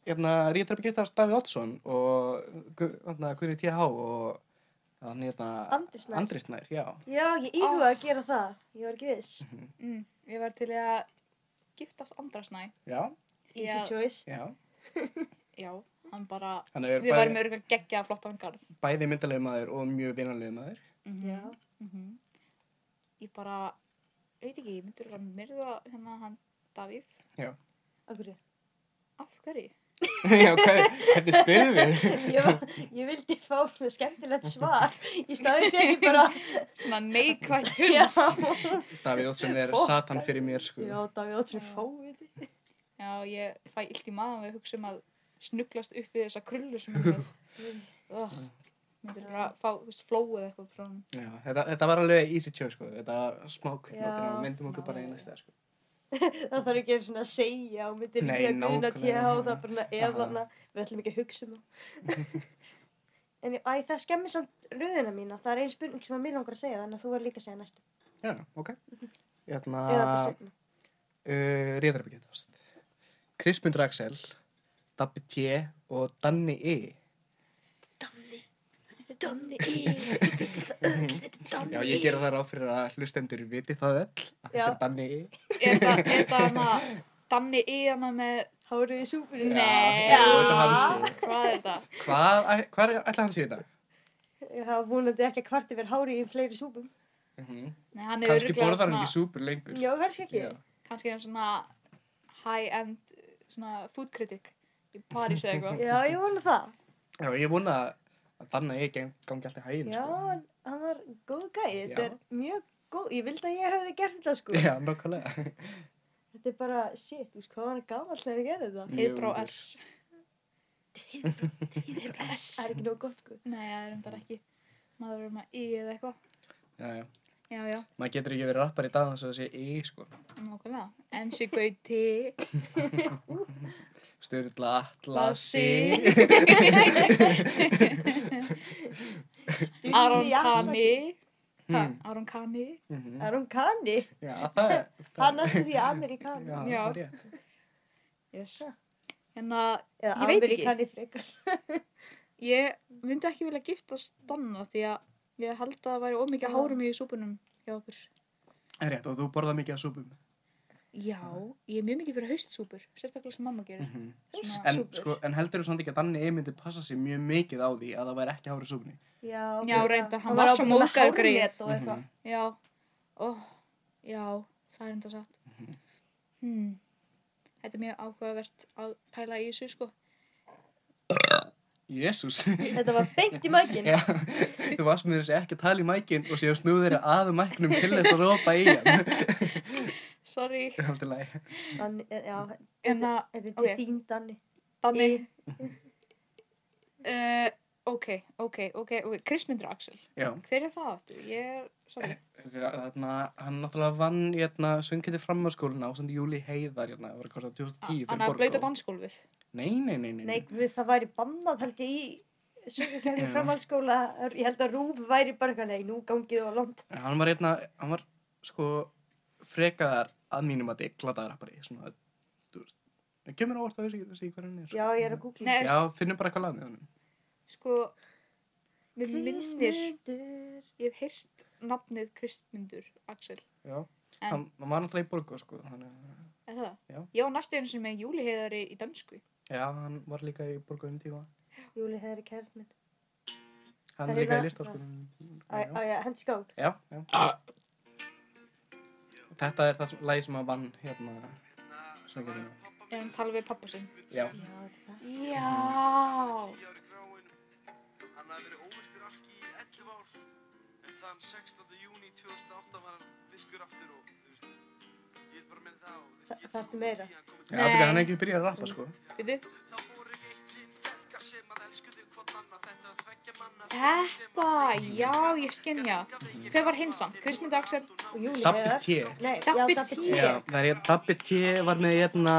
S1: hérna Ríðarabbi getast Davíð Oddsson og Gu- hérna Guðni TH og hann hérna
S2: Andri Snær.
S1: Andri Snær, já.
S2: Já, ég íhuga að gera það. Ég var ekki viss.
S3: Mm, ég var til í að giftast Andra Snæ.
S1: Já,
S3: Því
S2: Easy
S3: að-
S2: choice.
S1: já.
S3: Já, hann bara,
S1: Þannig er
S3: við varum
S1: bæði,
S3: örgulega geggja flottan garð.
S1: bæði myndalegu maður og mjög vinanlegu maður. <laughs>
S3: Mm
S2: Já.
S3: Ég bara, ég veit ekki, ég myndi örgulega myrða hérna hann Davíð.
S2: Af hverju? <laughs>
S3: Af hverju?
S1: já, hvað, hvernig spyrum við?
S2: Ég, var, ég vildi fá með skemmtilegt svar. Í staðin fyrir bara,
S3: Svona
S2: <laughs>
S3: neikvæð
S2: já.
S3: huls.
S1: Davíð Oddsson er
S2: Fokk.
S1: satan fyrir mér, sko.
S2: Já, Davíð Óttur
S3: Já.
S2: fóið.
S3: Já, ég fæ illt í maðan við að hugsa um að snuglast upp við þessa krullu sem hún er.
S2: <laughs>
S3: Ugh, myndi örgulega fá, þú veist, flóið eitthvað frá hann.
S1: Já, þetta, þetta var alveg easy choice, sko. Þetta smák,
S2: Já.
S1: notina, myndum okkur bara í
S3: Já.
S1: næsta, sko.
S2: Það þarf ekki einu svona að segja og myndir
S1: Nei,
S2: líka að guðna
S1: nákvæmlega.
S2: tíða og það er bara
S1: Aha.
S2: eðlana. Við ætlum ekki að hugsa um það.
S1: <laughs>
S2: en ég, æ, það skemmir samt röðina mína. Það er einn spurning sem að mér langar að segja þannig að þú verður líka að segja næstu.
S1: Já,
S2: <laughs>
S1: ok. Hérna...
S2: Eða bara setna.
S1: uh, Ríðarabbi getast Krispund Raxel Dabbi T og Danni E
S2: Donni í, ég veit það öll, þetta er Donni
S1: Já, ég gera það ráð fyrir að hlustendur viti það öll að
S2: E. Já.
S1: þetta er Danni E
S3: Er það, er það hana Danni í hana með
S2: Hárið í súpunni.
S1: Já,
S3: Nei.
S1: þetta er auðvitað sko. hans stíl.
S3: Hvað er þetta?
S1: Hvað, æ- hvað er ætla hann sé þetta?
S2: Ég hafa vonandi ekki að kvart yfir hárið í fleiri súpum.
S3: Nei, hann er
S1: Kanski
S3: öruglega
S1: Mhm. borðar hann
S3: svona,
S1: ekki súpur lengur.
S2: Já, kannski ekki.
S1: Já.
S3: kannski hann svona high-end svona food critic í París
S1: <laughs>
S3: eða eitthvað.
S2: Já, ég vona það.
S1: Já, ég vona að Danna ég gangi alltaf hæginn,
S2: Já,
S1: sko.
S2: hann, hann var góð gæi. Þetta
S1: Já.
S2: er mjög góð. Ég vildi að ég hefði gert þetta sko.
S1: <laughs> Já, nokkulega.
S2: Þetta er bara, shit, þú veist hvað var hann gamall þegar ég gerði þetta?
S3: Heiðbrá
S1: Mjög ungur.
S3: S. Heiðbrá S.
S2: Það er ekki nóg gott sko.
S3: Nei, það er um bara ekki. Maður verður með í eða eitthvað.
S1: Já, já.
S3: Já, já,
S1: Maður getur ekki verið rappar í dag þannig að það sé í, sko.
S3: nákvæmlega. MC Gauti.
S1: Sturla
S3: Lassi.
S1: Atlasi.
S2: Stulli
S1: <laughs>
S3: Aron
S2: í alla sig.
S3: Kani. Ha, Aron Kani.
S1: Mm. Mhm.
S2: Aron Kani?
S1: Já, það er... það-
S2: Hann næstu því Amerikani.
S1: Já,
S3: Já.
S1: það er rétt.
S3: Yes. Hérna,
S2: Eða
S3: Ég veit ekki.
S2: Amerikani frekar.
S3: ég myndi ekki vilja giftast Danna því að ég held að það væri ómikið
S2: Já.
S3: hárum í súpunum hjá okkur.
S1: Það er rétt og þú borðar mikið af súpum.
S3: Já, ég er mjög mikið fyrir haustsúpur, sérstaklega sem mamma gerir.
S1: Mhm.
S3: Svona-
S1: En,
S2: Súpur.
S1: sko, en heldur þú samt ekki að Danni ég myndi passa sér mjög mikið á því að það væri ekki hárið súpunni?
S2: Já,
S3: Já,
S2: ok.
S3: reyndar, hann
S2: var
S3: var svo
S2: ábyggilega með
S3: móðgaður greyið.
S2: hárnet og eitthvað.
S1: Mhm.
S3: Já, ó, já, það er enda satt. Hmm. Þetta er mjög áhugavert að pæla í þessu, sko.
S1: Jésús. <laughs>
S2: Þetta var beint í mækinn.
S1: Já, þú varst með þessi ekki að tala í mækin og séu snúðir að mæknum til þess að rópa í hann.
S3: Sorry.
S1: Það er alltaf læg.
S2: Danni, já,
S3: En að,
S2: þetta er
S3: Ok.
S2: til þín Danni.
S3: Danni.
S2: Í-
S3: Uh, ok, ok, ok, ok, Kristmyndur Axel.
S1: Já,
S3: Hver er það aftur? Ég er, sorry.
S1: þarna, hann náttúrulega vann hérna, söngkætti framhanskóluna á samt Júli Heiðar, hérna, það var kostið 2010
S3: Hann að
S1: fyrir
S3: blöyta
S1: Borgó.
S3: dansgólfið.
S1: Nei, nei, nei, nei.
S2: Nei, guð, það væri bannað held ég í sögukerfi
S1: Já.
S2: framhaldsskóla. Ég held að Rúf væri bara eitthvað, nei, nú gangið og langt.
S1: En Hann var hérna, hann var sko frekar að mínum að deklaða rappari, svona, þú veist, það kemur ávart að þessi, þessi hvað hann er.
S2: Já, ég er að googla.
S3: Nei,
S1: Já, finnum bara eitthvað lag með honum.
S3: sko, mér minnir,
S2: Kristmundur.
S3: ég hef heyrt nafnið Kristmyndur Axel.
S1: Já,
S3: En-
S1: hann, hann var náttúrulega í Borgó, sko, þannig að,
S3: Er það?
S1: Já.
S3: Ég var næstu einu sem með Júli heiðari í dansku.
S1: já, hann var líka í Borgó um tíma.
S2: Júli hefði kærið minn.
S1: Hann
S2: Það
S1: er
S2: er
S1: líka í
S2: hérna-
S1: listaskólum.
S2: Á á ég að hendi skák.
S1: Já, já. Þetta er það sem- lagi sem að vann hérna söngurinn.
S3: Er hann tala við pappa sinn?
S1: Já.
S2: Já, þetta er það.
S3: Já.
S4: Hann hafði verið óvirkur allt í 11 ár en þann 16. júni 2008 var hann virkur aftur og þú veist, ég vil bara meina það og þú
S2: Þa-
S4: veist, ég
S2: þarftu meira?
S4: hann komið
S1: Já,
S4: til
S3: Nei.
S1: byrja, hann er ekki byrjað að rappa, sko.
S3: Veitu,
S4: þá voru ekki eitt sinn fekkar sem að elsku þig hvort annað þetta var tveggja manna
S3: þetta, já, ég skynja. Hver var hinn samt? Kristmund Axel?
S2: Og Júli
S1: Dabbi
S2: hefði.
S1: T.
S2: Nei,
S3: Dabbi
S2: já, Dabbi
S3: T.
S2: T.
S1: Já, það er, Dabbi T var með hérna,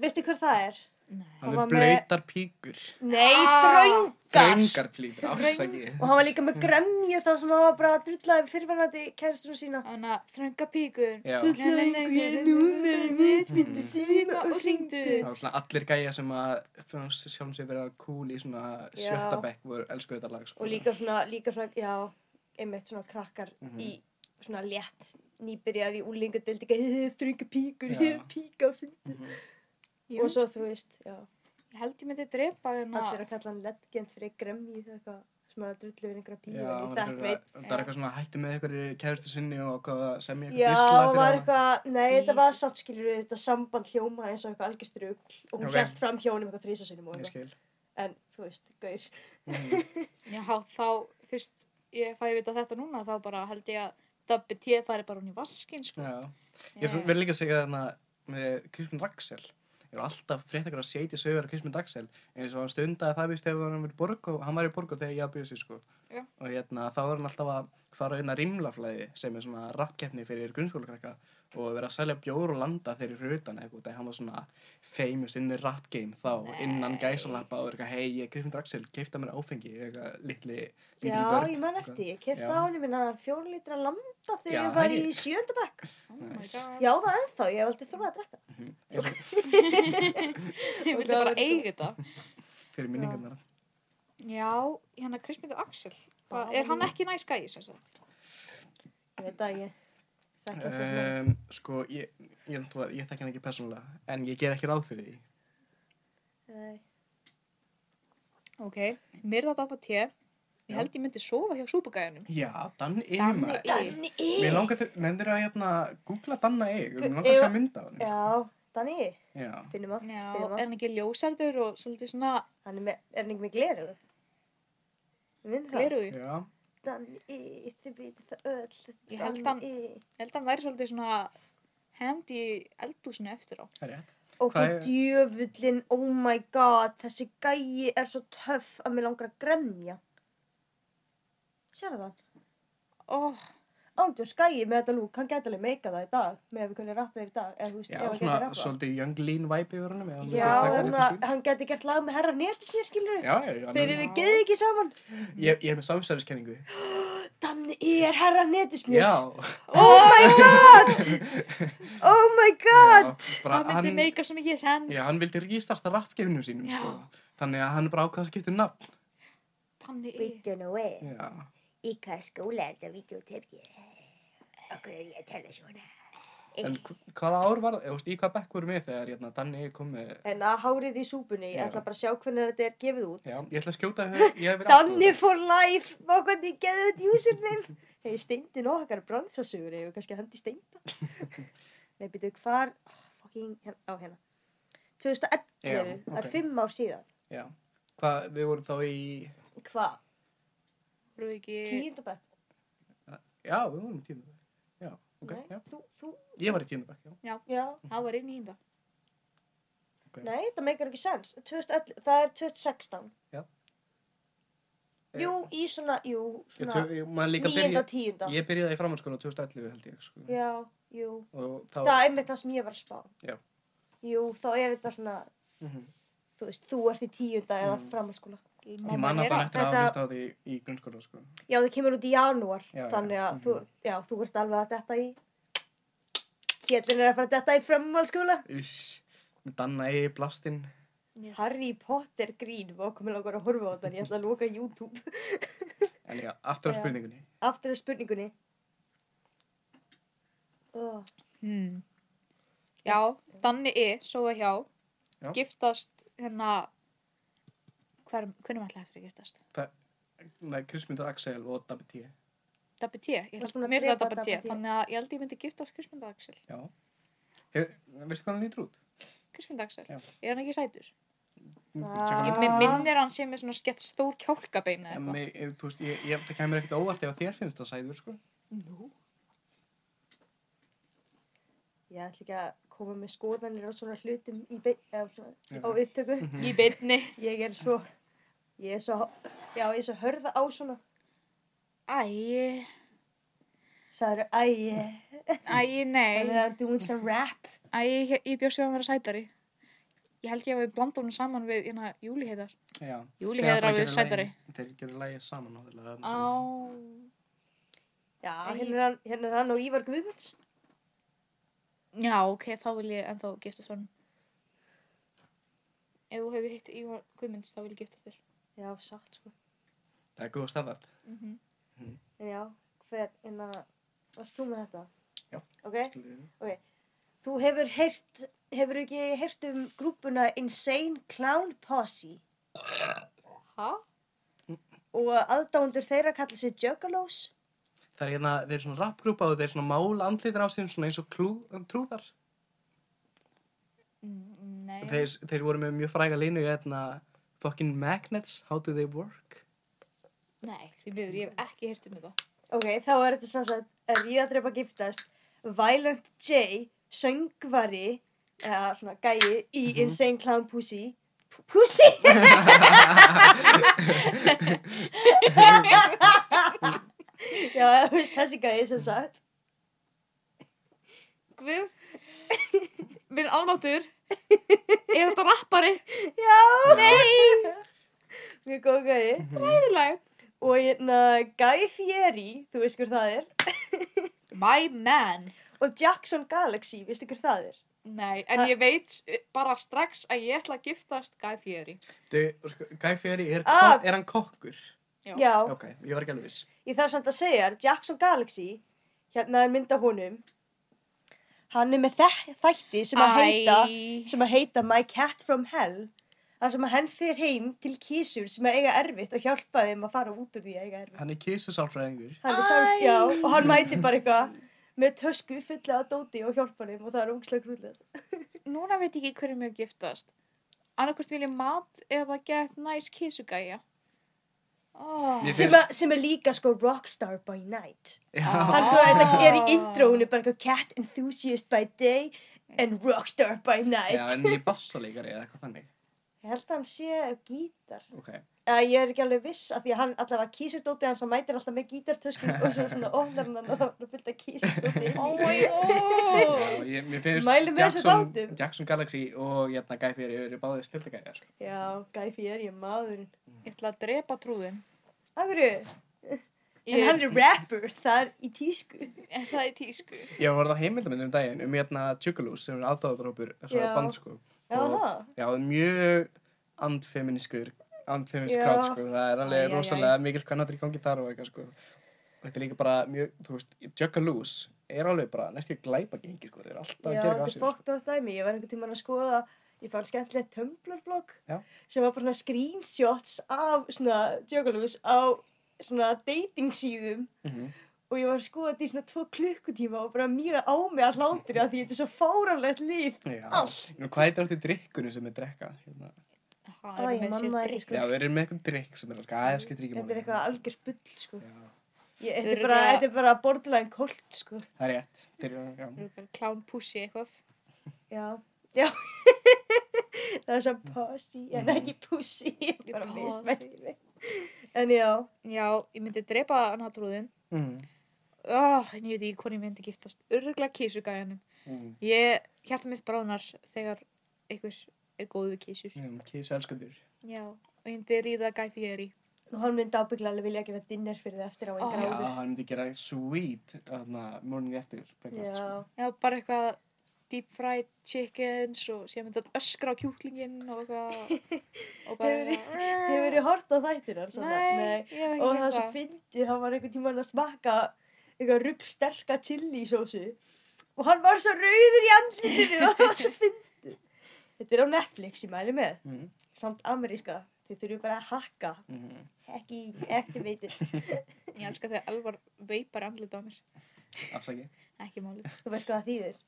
S2: Veistu hver það er?
S3: Nei.
S1: hann
S2: var
S1: er
S2: með-
S1: blöytar píkur.
S2: Nei,
S3: Ah.
S1: Þröngar píkur, afsaki.
S2: Og hann var líka með gremju þá sem hann var bara að drulla yfir fyrirvænandi kæristunum sína.
S3: Þannig að þrönga píkur.
S1: Já,
S2: Þú
S1: það
S2: hlöng ég númerið mitt, viltu síma
S3: Og hringdu.
S1: var svona allir gæja sem að fannst sjálfum sér verið að cool í svona
S2: Já.
S1: sjötta bekk voru elsku þetta lag, sko.
S2: og líka svona, líka svona, já, einmitt svona krakkar
S1: Mhm.
S2: í svona létt nýbyrjar í úlingadelt ekki hefði þröngu píkur,
S1: Já.
S2: hefði píka á fundi
S1: Mhm.
S3: Jú,
S2: og svo þú veist, já,
S3: ég held ég myndi drepa
S2: allir
S3: hérna.
S2: að kalla hann legend fyrir gremmi það eitthvað sem er að drullu við einhverja píu
S1: Já,
S2: og
S1: það
S2: það
S1: er
S2: veit
S1: það er eitthvað svona hætti með eitthvað kæðustu sinni og ákvað sem ég
S2: Já,
S1: eitthvað dislag
S2: og
S1: fyrir
S2: var
S1: hana.
S2: eitthvað, nei, þetta var samt skilur þetta samband hljóma eins og eitthvað algjörst rugl og hún
S1: Ok.
S2: okay. hlætt fram hjónum eitthvað þrísasunum og
S1: Ég
S2: eitthvað,
S1: skil.
S2: en þú veist, gaur.
S1: Mhm.
S3: Já, þá fyrst ég fæ vita þetta núna, þá bara held ég að Dabbi T færi bara hún í vaskinn, sko.
S1: Já. Ég er svo- verð líka að segja þarna með Kristmund Axel. Ég er alltaf frétt eitthvað að setja sögur af Kristmund Axel eins og hann stundaði það víst þegar hann var í Borgó, hann var í Borgó þegar ég að byrja sér sko.
S3: Já.
S1: Og hérna þá var hann alltaf að fara inn að rimlaflæði sem er svona rappkeppni fyrir grunnskólakrakka og vera að selja bjór og landa þeirri fyrir utan eitthvað þegar hann var svona famous in the rap game þá innan gæsalappa og er eitthvað hei ég er Kristmund Axel, keifta mér áfengi eitthvað litli, lítil
S2: Já,
S1: börn,
S2: ég man
S1: eitthvað.
S2: eftir, ég kefti
S1: Já.
S2: á hérna henni minna fjórlítra landa
S1: Já,
S2: þegar ég var
S1: það
S2: í
S1: ekki.
S2: sjöndabæk.
S3: Oh my
S1: Nice.
S3: god.
S2: Já, það er ennþá, ég hef aldrei þorðað að drekka.
S3: <laughs>
S1: Mhm.
S3: Ég vildi bara eiga þetta.
S1: fyrir minningarnar
S3: Já, hérna Kristmyndur Axel. Hva,
S2: Bara
S3: er hann
S2: hún.
S3: ekki næs gæi, sem sagt?
S2: Ég veit að ég, þekki hann sem svona.
S1: Um, sko, ég, ég, náttúrulega- ég þekki hann ekki persónulega, en ég ger ekki ráð fyrir því.
S2: Nei.
S3: Ok, myrða dappa te. Ég
S1: Já.
S3: held ég myndi sofa hjá súpagæjanum.
S1: Já, Danni Eir,
S3: Danni
S1: maður.
S3: Eir.
S2: Danni
S1: Mér
S2: Í!
S1: langar til, nefndir að hérna, googla Danna Eir, mér langar
S2: Ef-
S1: að sjá mynd af hann.
S2: Já, Danni Í,
S1: Já.
S2: finnum að.
S3: Já,
S2: Fyrir
S3: er
S2: maður.
S3: hann ekki ljósarður og svolítið svona
S2: Hann er, með, er hann ekki með gleruðu? Við myndum það.
S3: gleruðu?
S1: Já.
S2: Danni Í, þið veitir það öll.
S3: Ég held
S2: Danni Í.
S3: Ég held að hann væri svolítið svona hendi eldúsinu eftir á.
S1: það er rétt.
S2: Ok,
S1: Hvað er-
S2: djöfullin, oh my god, þessi gæi er svo töff að mér langar að grenja. Sérðu það?
S3: Ó,
S2: Ándjós gæi með þetta lúk, hann gæti alveg meika það í dag, með að við kunni rappa þér í dag, eða þú veist,
S1: Já,
S2: ef hann gæti
S1: svona
S2: rappað.
S1: svolítið young lean vibe yfir honum. ef hann
S2: Já,
S1: myndi taka hann
S2: en
S1: upp á sín.
S2: að hann gæti gert lag með herra netismér, skilur við?
S1: Já, já, já.
S2: Þeir
S1: nú-
S2: eru geð ekki saman.
S1: Ég, ég er með samsæðiskenningu.
S2: Danni er herra netismér.
S1: Já.
S2: Oh my god!
S1: <laughs>
S2: Oh my god!
S1: Já, bara
S3: það myndi
S1: hann-
S3: meika svo mikið sens.
S1: Já, hann vildi rístarta rappgefinum sínum,
S3: Já.
S1: sko. Þannig að hann er bara ákvað að skipta um nafn.
S3: Þannig í.
S5: Bíddu nú við,
S1: Já.
S5: í hvaða skóla er þetta videotippi? Okkur er ég að tala svona.
S1: En hv- hvaða ár var það, eða þú veist, í hvað bekk voru með þegar hérna, Danni kom með...
S2: En að hárið í súpunni, ég
S1: Já.
S2: ætla bara að sjá hvernig þetta er gefið út.
S1: Já, ég ætla að skjóta að hef- ég hef verið
S2: Danni
S1: aftur.
S2: for life, má hvernig geði þetta username. Hei, steindin okkar bransasugur, ég hef kannski að hendi steinda.
S1: <laughs>
S2: Nei, byrju, hvar, oh, fucking, hér, á hérna. 2011,
S1: Já,
S2: það er
S1: ok.
S2: fimm ár síðan.
S1: Já. Hvað, við vorum þá í...
S2: Hvað?
S3: Voru ekki...
S2: Tíundabæk?
S1: Já, við vorum í tíundabæk. Já, ok,
S2: Nei,
S1: já.
S2: þú, þú,
S1: Ég var í tíundabæk, já.
S2: já.
S3: Það var inn í hunda.
S2: Nei, það meikar ekki sens. 2011, það er 2016.
S1: Já.
S2: Eh, Jú, í svona, jú,
S1: Ég
S2: svona,
S1: tök, ég, maður líka
S2: níunda,
S1: byrja...
S2: tíunda.
S1: Ég byrjaði í framhaldsskóla 2011, held ég, sko.
S2: Já, jú.
S1: Og þá...
S2: Það er einmitt það sem ég var að spá.
S1: Já.
S2: Jú, þá er þetta svona,
S1: Mhm.
S2: þú veist, þú ert í tíunda eða
S1: Mm.
S2: framhaldsskóla.
S1: Ég man að það eftir að
S2: Þetta-
S1: hafa hlust á því í grunnskóla, sko.
S2: Já, það kemur út í janúar,
S1: Já, Mhm. já.
S2: þannig að þú, já, þú ert alveg að detta í, Kjellin er að fara að detta í framhaldsskóla.
S1: Uss, Danna í blastinn.
S3: Yes.
S2: Harry Potter grín, vá, komið langar að horfa á þetta, en ég ætla að loka YouTube.
S1: En já, aftur á
S2: Já.
S1: spurningunni.
S2: Aftur að spurningunni. Oh,
S3: Hmm. Já, Danni E, sofa hjá,
S1: Já.
S3: giftast hérna, hver, hvernig maður eftir að giftast?
S1: Nei, Kristmundur Axel og Dabbi T.
S3: Dabbi T, ég
S2: Varst
S3: held
S2: búin að
S3: mér er það
S2: drepa
S3: Dabbi T,
S2: Dabba T?
S3: þannig að ég held ég myndi giftast Kristmund Axel.
S1: Já. Hef, veistu hvað hann lítur út?
S3: Kristmund Axel,
S1: Já.
S3: er hann ekki sætur?
S2: Ah.
S1: Tjekka
S3: Ég
S1: hann.
S3: mig minnir hann sem er svona skett stór kjálkabein
S1: En
S3: eða eitthvað.
S1: mig- ef- Þú veist, ég, ég, það kemur ekkert á óvart ef að þér finnst það sæður, sko.
S3: Nú?
S2: ég ætla ekki að koma með skoðanir á svona hlutum í bein, eða svona,
S1: Já.
S2: á upptöku.
S3: Í beinni.
S2: Ég er svo, ég er svo, já, ég er svo hörða á svona.
S3: Æ,
S2: Sæður, æ, ég-
S3: æ,
S2: hann
S3: nei.
S2: er að doing some rap.
S3: Æ, ég, ég bjóst við að hann vera sætari. Ég held ég að við blanda honum saman við, hérna, Júli heitar.
S1: Já.
S3: Júli
S1: Þegar
S3: heitar
S1: það
S3: alveg
S1: gerir
S3: sætari.
S1: lagið- Þeir gerir lægið saman á þeirlega.
S3: Á,
S2: Já,
S3: Æ.
S2: hérna er hann, hérna er hann og Ívar Guðmunds.
S3: já, ok, þá vil ég ennþá giftast honum. Ef þú hefur hitt Ívar Guðmunds, þá vil ég giftast þér.
S2: Já, satt sko.
S1: Það er góð standart.
S3: Mm
S2: En já, hver, hérna, varst þú með þetta?
S1: Já.
S2: Ok, þú hefur heyrt, hefur ekki heyrt um grúpuna Insane Clown Posse?
S3: Ha?
S2: og aðdándur þeirra kalla sig Juggalos
S1: Það er hérna, þeir eru svona rapgrúpa og þeir eru svona mála andlitin á síðan svona eins og klú, trúðar.
S3: Mm, Nei.
S1: Þeir, þeir voru með mjög fræga línu hérna, fucking magnets, how do they work?
S3: Nei, því miður, ég hef ekki hirt um þetta.
S2: ok, þá er þetta sem sagt að ríðadrepa giftast Violent J, söngvari eða svona gæi í Insane Clown Pussy P- Pussy? <laughs> já, þú veist, þessi gæi sem sagt
S3: Guð, minn ánáttur, er þetta rappari?
S2: já,
S3: Nei,
S2: mjög góð gæi
S3: hæðileg.
S2: og hérna Guy Fieri, þú veist hver það er
S3: My man.
S2: og Jackson Galaxy, veistu hver það er
S3: Nei, en
S2: Ha-
S3: ég veit s- bara strax að ég ætla að giftast Guy Fieri.
S1: Þau, sko, Guy Fieri, er,
S2: Ah.
S1: ah. er hann kokkur?
S3: Já.
S2: já
S1: Ok, ég var ekki alveg viss.
S2: Ég þarf samt að segja þér, Jackson Galaxy, hérna er mynd af honum Hann er með þe- þætti sem að heita sem að heita My Cat From Hell þar sem að hann fer heim til kísur sem að eiga erfitt og hjálpa þeim að fara út úr því að eiga erfitt.
S1: Hann er kísusálfræðingur.
S2: Hann er sál,
S3: Æ.
S2: já, og hann mæti bara eitthvað með tösku fulla af dóti og hjálpa þeim og það er ógislega grúðlega.
S3: Núna veit ég ekki hverju mjög giftast. Annarkvort vil ég mat eða get nice kísugæja. Oh.
S1: Mér
S2: Sem, að- sem er líka sko Rockstar by Night.
S3: Ah.
S2: Hann sko, þetta er í
S3: Ah.
S2: intro, hún er bara eitthvað Cat Enthusiast by Day and Rockstar by
S1: Já,
S2: Night.
S1: en ég bassalíkari eða eitthvað þannig.
S2: Ég held að hann sé gítar.
S1: Ok.
S2: Uh, ég er ekki alveg viss af því að hann allavega kísur dóti hans að mætir alltaf með gítartösku og svo svona ofnar hann og þá er hann fyllt að kísur dóti.
S3: Oh my god.
S1: Já, ég, mér finnst
S2: Mælum við þessu
S1: Jackson,
S2: þáttum.
S1: Jackson Galaxy og jæna Guy Fieri eru báðið snillegæjar.
S2: Já, gæfi er ég maðurinn.
S3: Ég ætla að drepa trúðin.
S2: Akkurru, en hann
S3: Ég,
S2: er rapper, það er í tísku.
S3: en það er tísku.
S1: Ég var það heimildamöndum um daginn um jæna Tjúkulús sem er aðdáðarópur þessara
S2: Já.
S1: band sko.
S2: Já,
S1: Og-
S2: það.
S1: Já, það er mjög andfeminískur, andfeminísk
S2: Já.
S1: grátt sko. Það er alveg
S3: Æ, æ, æ.
S1: rosalega mikill hvernig í gangi þar og eitthvað sko. Og þetta er líka bara mjög, þú veist, Tjúkulús er alveg bara næstu glæpa gengi sko. Þeir eru alltaf
S2: Já,
S1: að gera eitthvað
S2: þetta
S1: að
S2: er
S1: sér. sko.
S2: fókt og dæmi. Ég var einhvern tímann að skoða, ég fann skemmtilegt Tumblr-blogg
S1: Já.
S2: sem var bara svona screenshots af svona Juggalos á svona dating síðum
S1: Mhm.
S2: og ég var að skoða þetta í svona tvo klukkutíma og bara mjög á mig að hlátri að því þetta er svo fáránlegt líf.
S1: Já,
S2: Allt.
S1: Nú, hvað heitir alltaf drikkunni sem er drekka? Hérna.
S3: Það er
S2: Æ,
S3: með sér
S2: mamma er
S3: drikk.
S2: sko-
S1: Já, þeir eru með eitthvað drikk sem er alveg, að það skiptir ekki
S2: Þetta
S1: máli.
S2: er eitthvað algjör bull, sko.
S1: Já.
S2: Ég, þetta, er
S3: Örugglega-
S2: bara, þetta er bara borderline cold, sko.
S1: Það er rétt. Þeir eru, já.
S3: Klán pussi eitthvað.
S2: Já, já. <laughs> það er svo pussy, en ekki pussy. Ég er bara
S3: Mhm. Pussy.
S2: mismætti mig. En já,
S3: Já, ég myndi drepa hann að trúðin.
S1: Mm.
S3: Oh, en ég veit ekki hvernig ég myndi giftast. Öruglega kísugæjanum.
S1: Mm.
S3: Ég, hjarta mitt bráðnar þegar einhver er góð við kísur.
S1: Um, Kísu elskandur.
S3: Já, og ég myndi ríða Guy Fieri.
S2: og hann myndi ábygglega alveg vilja gefa dinner fyrir það eftir á
S3: Ó.
S2: einn
S1: Já,
S2: gráður.
S1: hann myndi gera sweet þarna morning eftir. breakfast,
S2: Já,
S1: sko.
S3: Já, bara eitthvað deep fried chickens og síðan myndi hann öskra á kjúklinginn og eitthvað
S2: <laughs>
S3: og bara
S2: Hefur- hefur verið hort á þættir hann svona.
S3: Nei, ég hef ekki
S2: Og það er svo
S3: gert
S2: fyndið, hann var einhvern tímann að smakka eitthvað rugg sterka chili sósu. Og hann var svo rauður í andlutinu og <laughs> það var svo fyndið. Þetta er á Netflix, ég mæli með.
S1: Mm.
S2: Samt ameríska. Þið þurfum bara að hakka.
S1: Mm.
S2: Ekki activated.
S3: Ég elska þegar Elvar veipar andlut á mér.
S1: Afsaki.
S3: Ekki máli.
S2: Þú veist hvað það þýðir.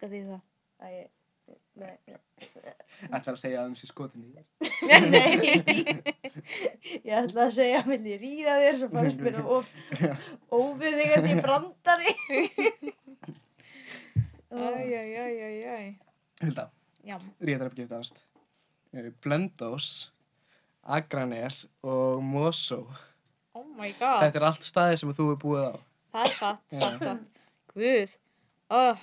S3: Hvað þýðir <laughs> það?
S2: Æ, ég- nei, nei.
S1: Ætlar að segja að hann sé skotin í. þér.
S2: ég ætla að segja að minni ríða þér svo fannst mér það of óviðigandi brandari
S3: Æj, æj, æj, æj, æj.
S1: Hilda,
S3: Já,
S1: réttar uppgiftast. Uh, Blöndós, Akranes og Mosó.
S3: oh my god.
S1: Þetta er allt staði sem þú er búið á.
S3: Það er satt,
S1: Já.
S3: satt, satt. Guð. Oh,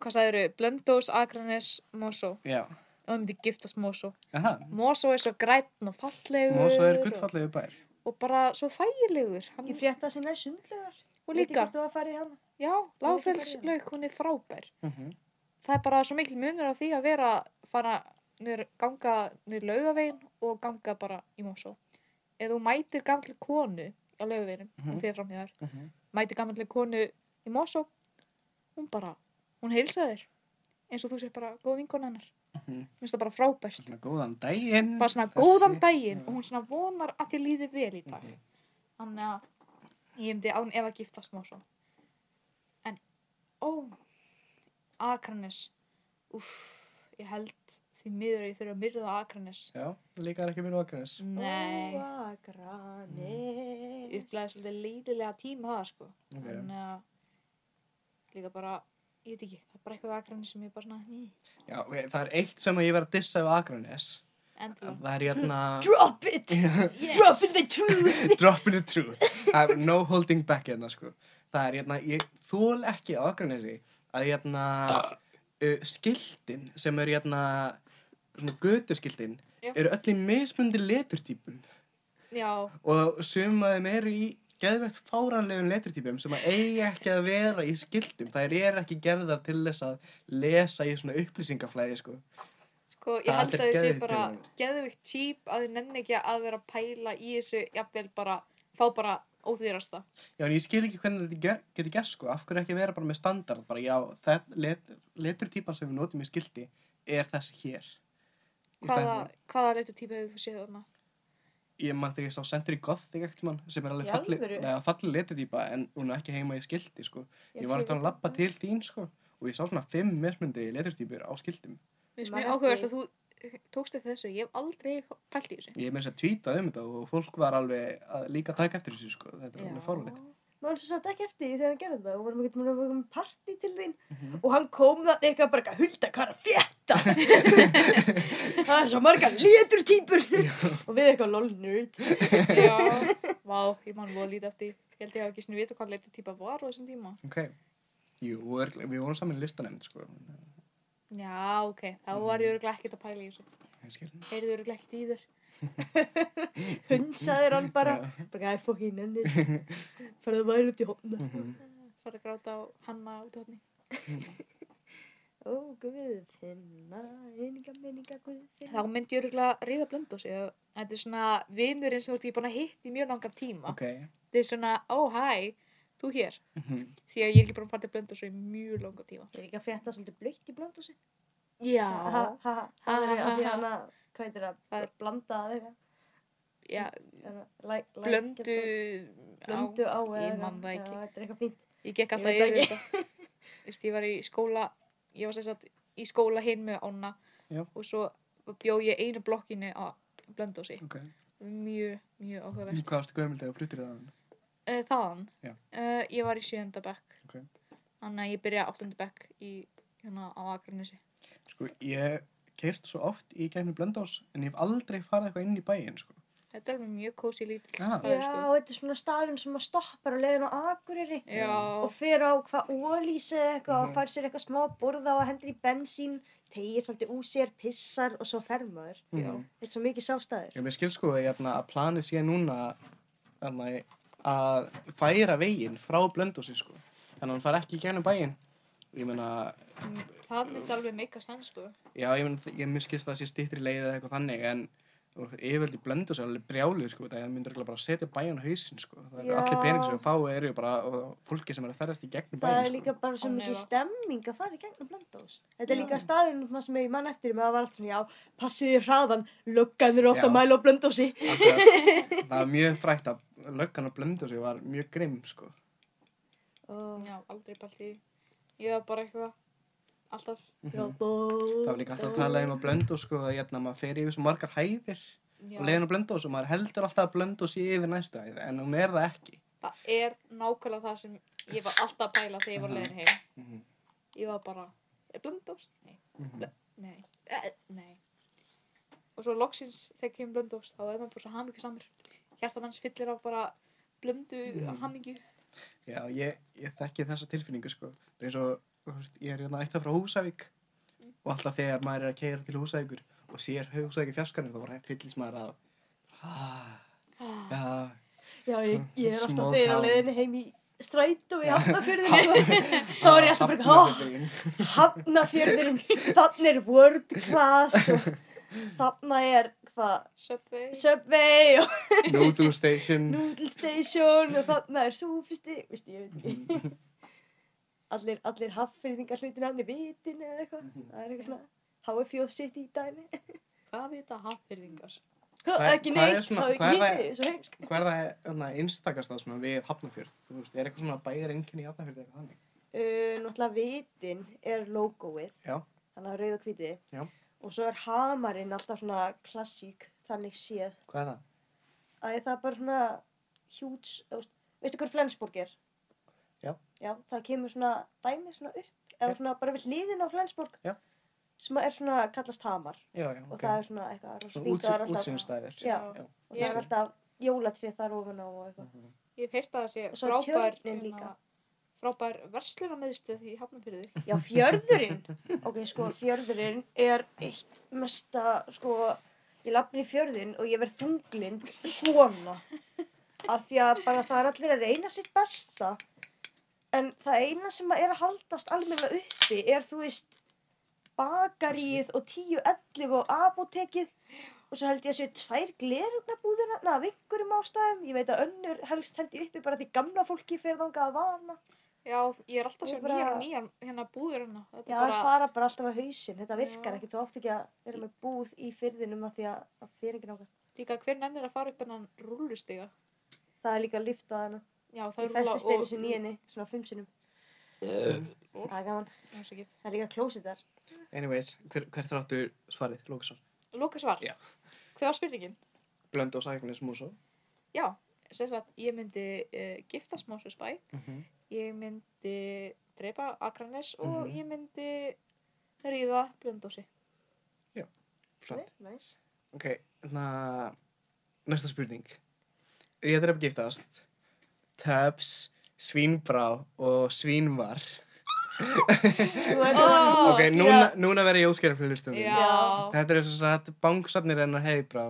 S3: hvað sagður þau? Blöndós, Akranes, Mosó.
S1: Já.
S3: Og ég myndi giftast Mosó.
S1: Aha.
S3: Mosó er svo grætn og fallegur.
S1: Mosó er
S3: og-
S1: gullfallegu bær.
S3: Og bara svo þægilegur. Hann,
S2: Ég frétta að sinna sundlegar
S3: og
S2: Veit ekki
S3: líka,
S2: hvort þú að fara í hana
S3: já, láfelslaug, hún er frábær.
S1: Mm -hmm.
S3: það er bara svo mikil munur á því að vera fara nýr, ganga nýr laugavegin og ganga bara í Mosó ef þú mætir gamli konu á laugaveginum
S1: Mhm.
S3: og fyrir fram hjá þér
S1: Mhm.
S3: mætir gamli konu í Mosó hún bara, hún heilsa þér eins og þú sér bara góð vinkona hennar
S1: Mhm.
S3: mér finnst það bara frábært
S1: Svona góðan daginn.
S3: bara svona
S1: Þessi-
S3: góðan daginn og hún svona vonar að þér líði vel í dag þannig að ég myndi án ef að giftast Mosó en ó Akranes uff, ég held því miður að ég þurfa að myrða Akranes
S1: Já, líka er ekki mér á Akranes.
S3: nei, ég
S2: Óagranis
S3: upplegaði svolítið leiðilega tíma það sko
S1: Ok.
S3: þannig að líka bara, ég veit ekki, það er bara eitthvað við Akranes sem ég bara svona, "Hm, ný,
S1: Já, ok, það er eitt sem ég verð að dissa við Akranes.
S3: endilega
S1: Það er hérna...
S3: <laughs>
S2: Drop it Drop in the
S1: <laughs>
S2: truth
S1: dropping the truth I have no holding back hérna sko það er hérna, ég þól ekki á Akranesi að hérna uh, skiltin sem eru hérna svona göturskiltin
S3: Já.
S1: eru öll í mismundi leturtípum
S3: já,
S1: og sum að þeim eru í geðvegt fáranlegum leturtípum sem að eiga ekki að vera í skiltum þær eru ekki gerðar til þess að lesa í svona upplýsingaflæði sko
S3: sko, ég
S1: Það
S3: held
S1: er
S3: að þessi
S1: geðveikt
S3: bara
S1: tilraun.
S3: geðvikt típ að þau nenni ekki að vera að pæla í þessu, jafnvel bara fá bara óþýrasta.
S1: Já, en ég skil ekki hvernig þetta ger, getur gert sko, af hverju ekki vera bara með standard, bara já, það, let, letur típan sem við notum í skildi er þessi hér. Í staðinn
S3: Hvaða,
S1: fyrir-
S3: hvaða leitur típa hefur þú séð þarna?
S1: Ég man þegar ég sá Sentry Gothic ekkert mann sem er alveg
S2: Í
S1: falli,
S2: alvöru?
S1: neða, falli leturtípa en hún er ekki heima í skildi sko. Ég, var alltaf að lappa til þín sko og ég sá svona fimm mismundi leturtípur á skildum.
S3: Mér finnst
S2: Man
S3: mjög áhugavert að
S2: eftir-
S3: þú tókst eftir þessu. Ég hef aldrei pælt í þessu.
S1: Ég meins að tvíta um þetta og fólk var alveg að líka að taka eftir þessu sko, þetta er
S3: Já.
S1: alveg fórulegt.
S2: Máli svo satt ekki eftir því þegar hann gerði það og vorum ekki með að koma með partí til þín
S1: Mhm.
S2: og hann kom það eitthvað bara eitthvað hulda hvað er að
S1: <laughs>
S2: fjötta það er svo marga létur týpur og við eitthvað lol nerd
S3: <laughs> Já, vá, ég man voða lítið eftir. því. Ég held ég hafa ekki svona vita hvað leitur típa var á þessum tíma.
S1: <laughs> Ok, jú, og örugglega- við vorum saman í listanemnd sko,
S3: Já, ok,
S1: Mm.
S3: þá var ég örgulega ekkert að pæla í þessu.
S1: ég skil.
S3: Heyrðu örgulega ekkert í þér.
S2: hunsaðir hann bara
S1: Já.
S2: bara það er fokkin ennir farið að væri út í hóna
S1: <laughs> Mhm.
S3: Fara að gráta á hanna út í hotni.
S2: ó guð finna eininga minninga guð
S3: Þá
S2: finna
S3: myndi ég örgulega ríða blönd á sig. Þetta er svona vinurinn sem þú ert ekki búin að hitta í mjög langan tíma.
S1: Ok,
S3: Þetta er svona, ó, hæ, þú hér.
S1: mhm.
S3: Því að ég er ekki búin að fara til blönd á sig í mjög langan tíma.
S2: ég er ekki að frétta svolítið blöytt í blónd og sér
S3: Já,
S2: það er að því hann að hvað heitir
S3: Það
S2: að
S3: er-
S2: blanda að þeirra
S3: já,
S2: Læ, læ,
S3: blöndu
S2: blöndu á eða
S3: ég
S2: eitthvað.
S3: man það
S2: Já,
S3: ekki.
S2: þetta er eitthvað fínt
S3: Ég gekk alltaf
S2: Ég veit
S3: yfir þetta. Vist, ég var í skóla, ég var sem sagt í skóla hinn með Onna
S1: Já.
S3: og svo bjó ég einu blokkinu á Blöndósi.
S1: Ok,
S3: Mjög, mjög
S1: í
S3: áhugavert.
S1: hvað ástu gömul þegar þú fluttir það hann?
S3: Uh, þaðan,
S1: Mm. Já.
S3: uh, ég var í sjönda bekk.
S1: Ok.
S3: Þannig að ég byrjaði áttunda bekk í, hérna, á Akranessi.
S1: Sko, ég keirt svo oft í gegnum blöndás en ég hef aldrei farið eitthvað inn í bæinn, sko.
S3: Þetta er alveg mjög kósi lítill
S1: Ah.
S2: Já,
S3: staður, sko.
S2: þetta er svona staðun sem maður stoppar á leiðin á Akureyri
S3: Já,
S2: og fer á hvað ólýsi eða eitthvað
S1: Mhm.
S2: og fær sér eitthvað smá að borða og hendur í bensín, tegir svolítið úr sér, pissar og svo fer maður.
S3: Já.
S2: Þetta er svo mikið sástaður.
S1: Ég mér skil sko að, jafna, að planið sé núna þarna, að færa veginn frá blöndósi, sko. Þannig að hann fari ekki í gegnum bæinn. Ég meina,
S3: Mm. það myndi alveg meika stann, sko.
S1: já, ég meina, ég mér skilst að það sé stýttri leið eða eitthvað þannig, en og yfirvöld í blöndós er alveg brjálið, sko, það myndur ekki bara að setja bæinn á hausinn, sko. Það eru
S2: Já.
S1: allir pening sem við fáið eru bara og fólki sem er að ferðast í gegnum
S2: Það
S1: bæinn,
S2: er
S1: sko.
S2: líka bara svo
S3: Á Neva.
S2: mikið stemming að fara í gegnum blöndós. Þetta er
S1: Já.
S2: líka staðun sem ég mann eftir með að var allt svona, já, passið í hraðan, löggan eru ofta
S1: Já.
S2: að mæla á blöndósi. <laughs>
S1: Akkurat. það var mjög frækt að löggan á blöndu sig var mjög grimm sko.
S2: Og-
S3: Já, aldrei pælt í. því. Ég var bara eitthvað, alltaf.
S2: Já,
S1: það
S2: bó-
S1: var líka alltaf að tala um að blöndu sko, að hérna, maður fer yfir svo margar hæðir
S3: Já.
S1: og leiðin á blöndu og maður heldur alltaf að blöndu sig yfir næstu hæð en hún er það ekki
S3: Það er nákvæmlega það sem ég var alltaf að pæla þegar ég var leiðin heim.
S1: Mhm.
S3: Ég var bara, er blöndós? Nei,
S2: mhm.
S3: Ble- nei, eh, nei. Og svo loksins þegar kemur blöndós, þá er maður bara svo hamingu samur. Hjartan hans fyllir á bara blöndu
S2: Mm.
S1: Mhm.
S3: hamingu.
S1: Já, ég, ég þekki þessa tilfinningu sko. það er eins og þú veist, ég er hérna ættað frá Húsavík og alltaf þegar maður er að keira til Húsavíkur og sér Húsavík í fjaskanum þá bara fyllist maður að ah,
S3: Ah.
S1: já,
S2: Já, ég, ég er
S1: Hm, Small
S2: alltaf þegar á
S1: town.
S2: leiðinni heim í stræt og í hafnafjörðinu
S1: <laughs>
S2: sko. <laughs> Þá er ég alltaf bara, oh,
S1: Hafnarfjörðurinn.
S2: hafnafjörðurinn, þannig er world class og þannig er, hvað,
S3: Subway.
S2: Subway og
S1: Noodle Station
S2: Noodle Station og þannig er Súfisti, veistu, ég veit ekki. Allir, allir haffyrðingar hlutin hann í vitin eða eitthvað.
S1: Mhm.
S2: Það er eitthvað, HFJ City dæmi. <laughs>
S3: Hvað vita hafnfyrðingar?
S1: Hvað-
S2: ekki
S1: hvað er
S2: neitt,
S1: svona-
S2: það er
S1: hvað er
S2: ekki
S1: það-
S2: neitt, svo heimsk.
S1: Hvað er það einstakast að svona við Hafnarfjörð? Þú veist, er eitthvað svona bæjar enginni í Hafnarfjörð eitthvað þannig?
S2: Uh, náttúrulega vitin er logoið.
S1: Já,
S2: þannig að rauð og hvíti
S1: Já.
S2: og svo er hamarinn alltaf svona klassík þannig séð
S1: hvað er það?
S2: að það er bara svona hjúts, veistu hver Flensborg er?
S1: Já.
S2: Já, það kemur svona dæmi svona upp eða
S1: Já.
S2: svona bara við hliðin á Flensborg
S1: Já.
S2: sem er svona kallast hamar
S1: Já, já, ok.
S2: og það er svona eitthvað rosa fínt og það er alltaf-
S1: Útsýnstæðir.
S2: Já,
S1: já.
S2: og
S1: ég
S2: það er
S1: skil.
S2: alltaf jólatrið þar ofan á og eitthvað
S1: Mhm.
S3: Ég hef heyrt að það sé
S2: Og svo
S3: frábær,
S2: tjörnin
S3: hérna,
S2: líka.
S3: frábær verslunarmiðstöð í hafnfyrði.
S2: Já, fjörðurinn. Ok, sko, fjörðurinn er eitt mesta, sko, ég lafni í fjörðinn og ég verð þunglind svona. Af því að bara það er allir að reyna sitt besta. En það eina sem að er að haldast almennilega uppi er, þú veist, bakaríið og 10, 11 og apotekið og svo held ég að séu tvær glerugnabúðina af einhverjum ástæðum, ég veit að önnur helst held ég uppi bara því gamla fólki fyrir þangað að vana
S3: Já, ég er alltaf
S2: Ég
S3: svo
S2: bara-
S3: nýjar og nýjar hérna búður hérna. Þetta
S2: Já,
S3: er
S2: það
S3: bara,
S2: fara bara alltaf að hausinn, þetta virkar
S3: Já.
S2: ekki, þú átt ekki að vera með búð í fyrðinum að því að það fyrir ekki nákvæm.
S3: líka hver nennir að fara upp hennan rúlustiga.
S2: Það er líka að lifta hana.
S3: Já, það
S2: Í
S3: er Mm.
S2: festisteinu sinni í henni, svona fimm sinnum.
S3: Og-
S2: Það er gaman.
S3: henni.
S2: Það er líka klósið þar.
S1: Anyways, hver, hver þráttu svarið, Lókasson?
S3: Loka svar.
S1: Já.
S3: Hver var spurningin?
S1: Blöndu og Sæknes Músó.
S3: Já, sem sagt, ég myndi uh, giftast Moses Bæ,
S2: Mhm.
S3: ég myndi dreipa Akranes og
S1: Mhm.
S3: ég myndi ríða Blöndósi.
S1: Flott.
S2: Næs.
S1: Ok, na, næsta spurning. Ég þarf að giftast. Töps, svínbrá og svínvar.
S2: Þú er
S3: Ó.
S2: svona
S3: Ó,
S1: ok,
S2: útskýra-
S1: núna, núna verð ég útskjara fyrir hlustum.
S3: Já.
S2: Já.
S1: Þetta er þess að bangsarnir hennar heiðbrá.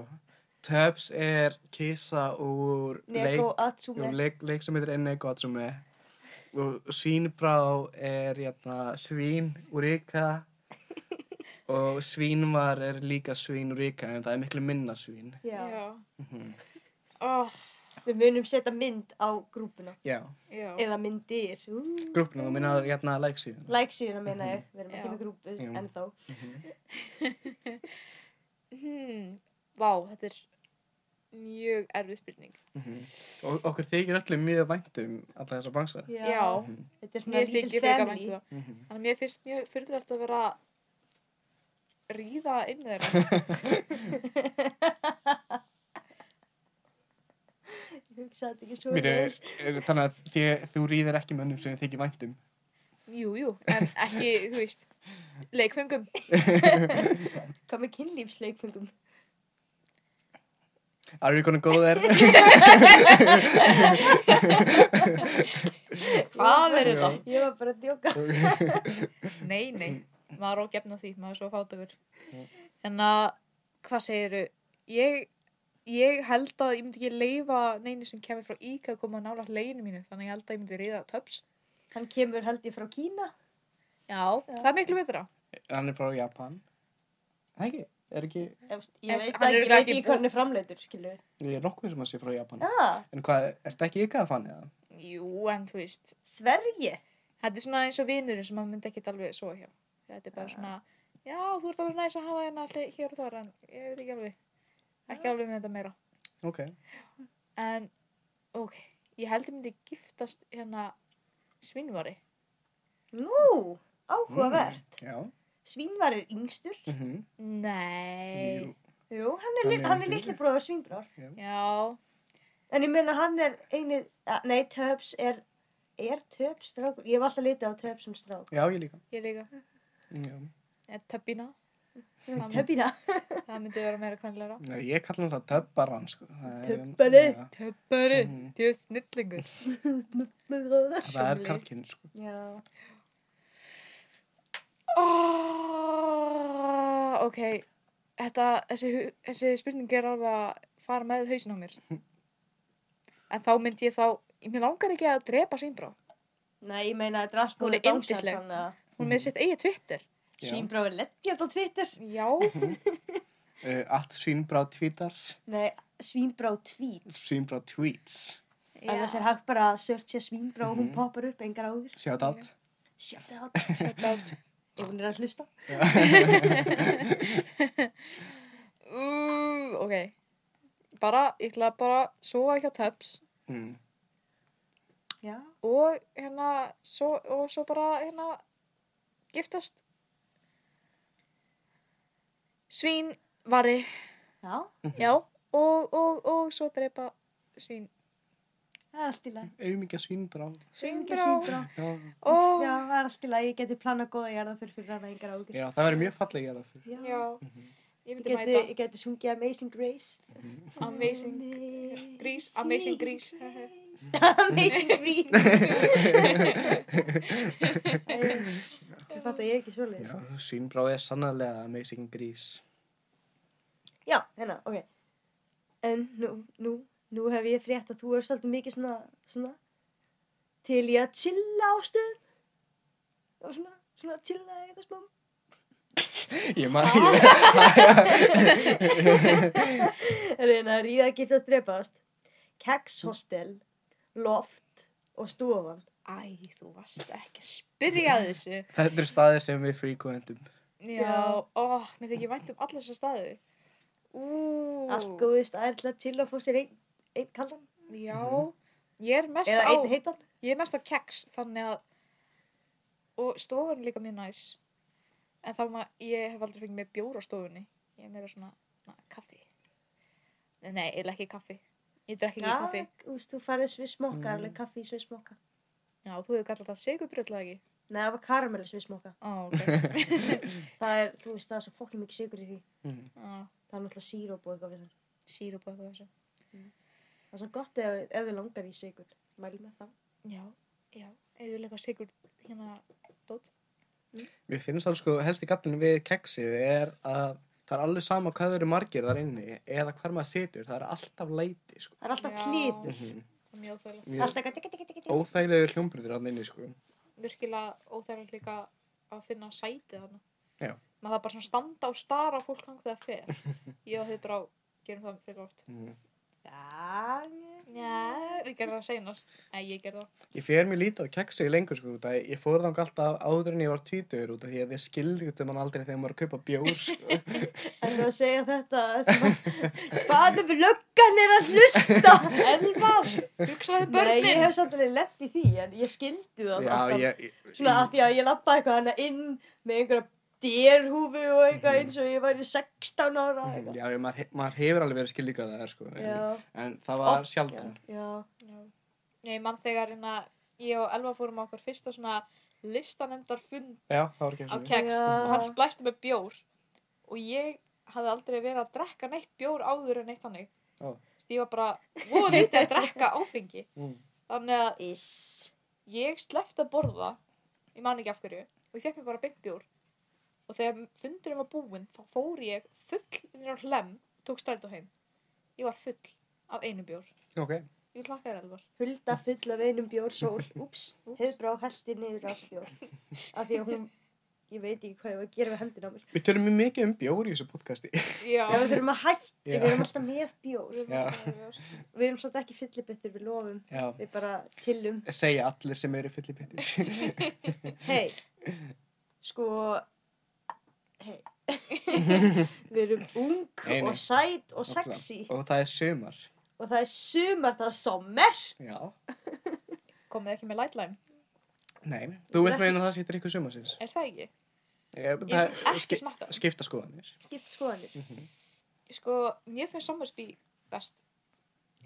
S1: Töps er kisa úr leik,
S2: Neko
S1: úr
S2: Atsume.
S1: leik, leik sem heitir Enne Gottsumi. Og svínbrá er jæna, svín úr yka og svínvar er líka svín úr yka en það er miklu minna svín.
S2: Já.
S1: Mhm.
S3: Oh,
S2: Við munum setja mynd á grúpuna.
S1: Já.
S3: já.
S2: Eða myndir. Ú.
S1: grúpna, þú minnar hérna læksíðuna.
S2: Like síðuna meina ég. Við erum ekki
S3: Já.
S2: með grúpu
S1: Jú.
S2: ennþá.
S1: Mhm.
S3: Hmm. Vá, þetta er mjög erfið spurning.
S1: Mhm. Og okkur þykir allir mjög vænt um alla þessa bangsa. Mhm.
S3: Já.
S2: Þetta er svona
S3: Mér
S2: lítil
S3: þykir frekar vænt um
S2: family.
S3: það. Þannig að mér finnst mjög fyrirlegt að vera ríða inn
S1: <laughs>
S3: þeirra.
S2: Ég hugsaði þetta ekki svo
S1: Mér er, er- þannig að því, þú ríðir ekki mönnum sem þið þykir vænt um.
S3: Jú, jú, en ekki, þú veist, leikfengum.
S2: Hvað með kynlífsleikfungum?
S1: Are you gonna go there? <laughs>
S3: Hvað er þetta?
S2: Ég var bara að djóka.
S3: Nei, nei, maður á gefna því, maður er svo fátakur. En að, hvað segiru? Ég, ég held að ég myndi ekki leifa neini sem kemur frá Íka að koma nála leginu mínu, þannig að ég held að ég myndi reyða töps.
S2: Hann kemur held ég frá Kína.
S3: Já, það er miklu betra.
S1: Hann er frá Japan. Það ekki, er ekki,
S2: Ég veist,
S3: Ég
S2: ég
S3: veist,
S2: veit
S3: hann
S2: það
S3: er
S2: ekki, ég veit
S3: ekki
S2: ekki
S3: bú-
S2: hvað hann er framleitur, skilur við.
S1: ég er nokkuð sem að sé frá Japan.
S2: Ah,
S1: En hvað, ertu ekki ykkar að fann eða?
S3: Jú, en þú veist,
S2: Sverige.
S3: þetta er svona eins og vinurinn sem maður myndi ekki alveg svo hjá. Þetta er bara svona, já, þú ert alveg næs að hafa hérna alltaf hér og þar, en ég veit ekki alveg, ekki alveg með þetta meira.
S1: Ok,
S3: En, ok, ég held ég myndi giftast hérna svinnvari.
S2: Nú, áhugavert.
S1: já.
S2: Svínvar er yngstur.
S1: Mm
S3: Nei.
S1: Jú,
S2: Jú, hann er,
S1: Hann
S2: li
S1: er
S2: hann er
S1: yngstur.
S2: litli bróður svínbrár.
S3: Já,
S2: En ég meina hann er eini, að, nei, Töps er, er Töps strákur? Ég hef alltaf litið á Töps sem strák.
S1: já, ég líka.
S3: ég líka.
S1: Já.
S3: Eða többina. Það myndi-
S2: Töpina.
S3: það myndi vera meira kvænilega.
S1: Nei, Ég kalla hann það többaran, sko. Það er-
S2: Többari.
S1: Já,
S3: Többari,
S1: Mhm.
S3: þú ert snillingur.
S1: Það er karlkinn, sko.
S2: <laughs> Já.
S3: Oh, ok, þetta, þessi, hu- þessi spurning er alveg að fara með hausin á mér. En þá myndi ég þá, mér langar ekki að drepa svínbrá.
S2: Nei, ég meina þetta er allt
S3: Hún er
S2: góður bánsar
S3: yndisleg.
S2: þannig að
S3: Hún með sitt eigið Twitter.
S1: Já.
S2: svínbrár er leggjald á Twitter.
S3: Já,
S1: Uh, allt svínbrá tvítar,
S2: Nei, svínbrár tweets.
S1: svínbrá tweets.
S2: Annars er
S3: já.
S2: hægt bara að searcha svínbrár og hún
S1: Mhm.
S2: poppar upp engar áður.
S1: Sjátt allt.
S2: Sjátt það átt.
S3: Shout out.
S2: Ef hún er að hlusta.
S3: Mm, ok, bara, ég ætla bara að sofa ekki á töps.
S1: Mm.
S2: Já.
S3: og hérna svo, og svo bara hérna giftast svín vari
S2: Já,
S3: já og, og, og svo dreipa svín
S2: það er allt í lagi.
S1: Auðmyggja svínbrá.
S2: Svingja
S3: svínbrá.
S2: svínbrá.
S1: Já.
S3: og
S2: Já, það er allt í lagi. Ég geti planað góða jarða fyrir fyrir hana engar ágjur.
S1: Já, það verður mjög falleg að gera það fyrir.
S3: já
S1: Mhm.
S3: ég
S2: Ég
S3: myndi
S2: geti,
S3: mæta
S2: ég geti sungið Amazing Grace.
S3: amazing grís amazing grís
S2: <laughs>
S3: <laughs>
S2: Amazing Grace. Ég fatt að ég er ekki
S1: Já,
S2: svoleiðis.
S1: svínbrá er sannarlega amazing grís.
S2: Já, hérna, ok. En nú, nú, nú hef ég frétt að þú er svolítið mikið svona, svona, til ég að chilla á stöðum. Og svona, svona chilla eitthvað smá.
S1: Ég man <laughs> ekki.
S2: Reyna að ríða, giftast, drepast. Keks hostel, loft og stofan.
S3: Æ, þú varst ekki að spyrja að þessu.
S1: Þetta eru staðir sem við fríkvendum.
S3: Já, ó, mér þykir vænt um alla þessa staði. Ú,
S2: Allt góðu staðir til að chilla og fá sér einn ein kaldan
S3: Já,
S1: Mhm.
S3: ég er mest
S2: eða
S3: á,
S2: einn heitan.
S3: ég er mest á keks, þannig að, og stofan er líka mjög næs. En þá maður, ég hef aldrei fengið mér bjór á stofunni. Ég er meira svona, na, kaffi. Nei, ég ekki kaffi. Ég drekk ekki kaffi.
S2: þú veist, þú farið svismokka,
S1: Mm.
S2: mm. alveg kaffi í svismokka.
S3: Já, þú hefur kallat það sigurdröll eða ekki?
S2: Nei, það var karamell svismokka.
S3: Ó, ok.
S2: Það er, þú veist, það er svo fokkið mikið sigur í því.
S3: Á,
S2: Það er náttúrulega síróp og eitthvað við það.
S3: sírup og eitthvað þessu.
S2: Það er svo gott ef, ef þið langar í sigur. Mæli með það.
S3: Já, já. Eða líka sigurd hérna dót.
S1: Mér finnst alveg sko helst í gallinu við keksið er að það er alveg sama hvað þau eru margir þar inni eða hvar maður situr, það er alltaf læti sko.
S2: Það er alltaf
S3: Já.
S2: klítur.
S1: Mhm.
S3: Það er mjög óþægilegt.
S1: Mjög
S2: Alltaf gæti, gæti, gæti, gæti.
S1: óþægilegu hljómbrutur hann inni sko.
S3: Virkilega óþægilegt líka að finna sætið þarna.
S1: Já.
S3: Maður það bara svona standa og stara á fólk langt þegar fer. Ég og þið bara gerum það frekar oft.
S1: Mhm.
S2: Já,
S3: Já, við gerum það seinast. Nei, ég ger
S2: <laughs>
S3: það.
S1: Ég fer mér lítið á keksið lengur sko út að ég fór þang alltaf áður en ég var tvítur út af því að ég skildi út um hann aldrei þegar maður er að kaupa bjór
S2: <laughs>
S1: sko.
S2: en þú að segja þetta, þessu, <laughs> hvað er við löggan er að hlusta?
S3: Elvar, hugsaðu um
S2: Nei,
S3: börnin.
S2: ég hef samt alveg lett í því, en ég skildi það
S1: Já,
S2: alltaf.
S1: ég, ég,
S2: Svona að því að ég lappaði eitthvað hana inn með einhverja derhúfu og eitthvað eins og ég væri 16 ára.
S1: Mhm,
S2: eitthvað.
S1: já, ég- maður, he- maður hefur alveg verið skilíkað það sko, en,
S2: Já,
S1: en það var
S2: Oft,
S1: sjaldan
S2: já.
S3: Já. Ég man þegar hérna, ég og Elvar fórum á okkur fyrsta svona listanemdarfund
S1: Já, það var ekki
S3: á
S1: eins og ég.
S3: keks
S2: Já.
S3: og hann splæsti með bjór og ég hafði aldrei verið að drekka neitt bjór áður en neitt þannig
S1: Já.
S3: Þessi, ég var bara voða lítið að drekka áfengi
S1: Mm.
S3: þannig að
S2: Iss.
S3: ég sleppti að borða ég man ekki af hverju og ég fekk mér bara beint bjór og þegar fundurinn var búinn þá fór ég full inn á hlem tók strætó heim ég var full af einu bjór
S1: Ok,
S3: ég hlakkaði elvar
S2: Hulda full af einum bjór sól. Úps,
S3: Úps.
S2: hefðbrá heldi niður allt bjór. Af því að hún, ég veit ekki hvað ég var að gera við hendina á mér.
S1: við tölum mjög mikið um bjór í þessu podcasti
S3: já,
S2: Já, við þurfum að hætti,
S1: Já.
S2: við erum alltaf með bjór.
S3: við erum
S1: Já.
S3: alltaf með bjór.
S2: Við erum svolítið ekki fyllibittur, við lofum.
S1: Já,
S2: Við bara tilum.
S1: segja allir sem eru fyllipittir
S2: Hei, sko, hei, <laughs> við erum ung
S1: Nei, nei.
S2: og sæt <laughs> og
S1: Nákvæmlega.
S2: sexy
S1: Og það er sumar
S2: og það er sumar, það er sommer.
S1: Já,
S3: komið ekki með lightline,
S1: nei, þú veist meina að það setur ykkur sumarsins
S3: er það ekki?
S1: Ég,
S3: ég hef samt ekki
S1: ski-
S3: smakkað
S1: Skipta skoðanir
S2: Skipt skoðanir.
S1: Mhm.
S3: sko, mér finnst Summersby best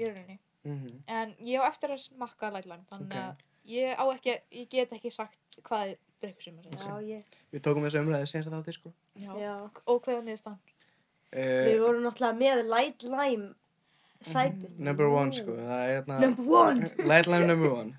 S3: í rauninni
S1: Mhm.
S3: en ég á eftir að smakka Light Lime þannig
S1: Ok.
S3: að ég á ekki, ég get ekki sagt hvað er drikkur Summersby
S2: Já, ég,
S1: Við tókum þessu umræði senst að þátti sko
S3: okay.
S2: já.
S3: og hvað er niðurstaðan?
S2: Við
S1: uh,
S2: vorum náttúrulega með light lime sætið.
S1: mhm. Number one sko, það er hérna
S2: Number one!
S1: Light Lime number one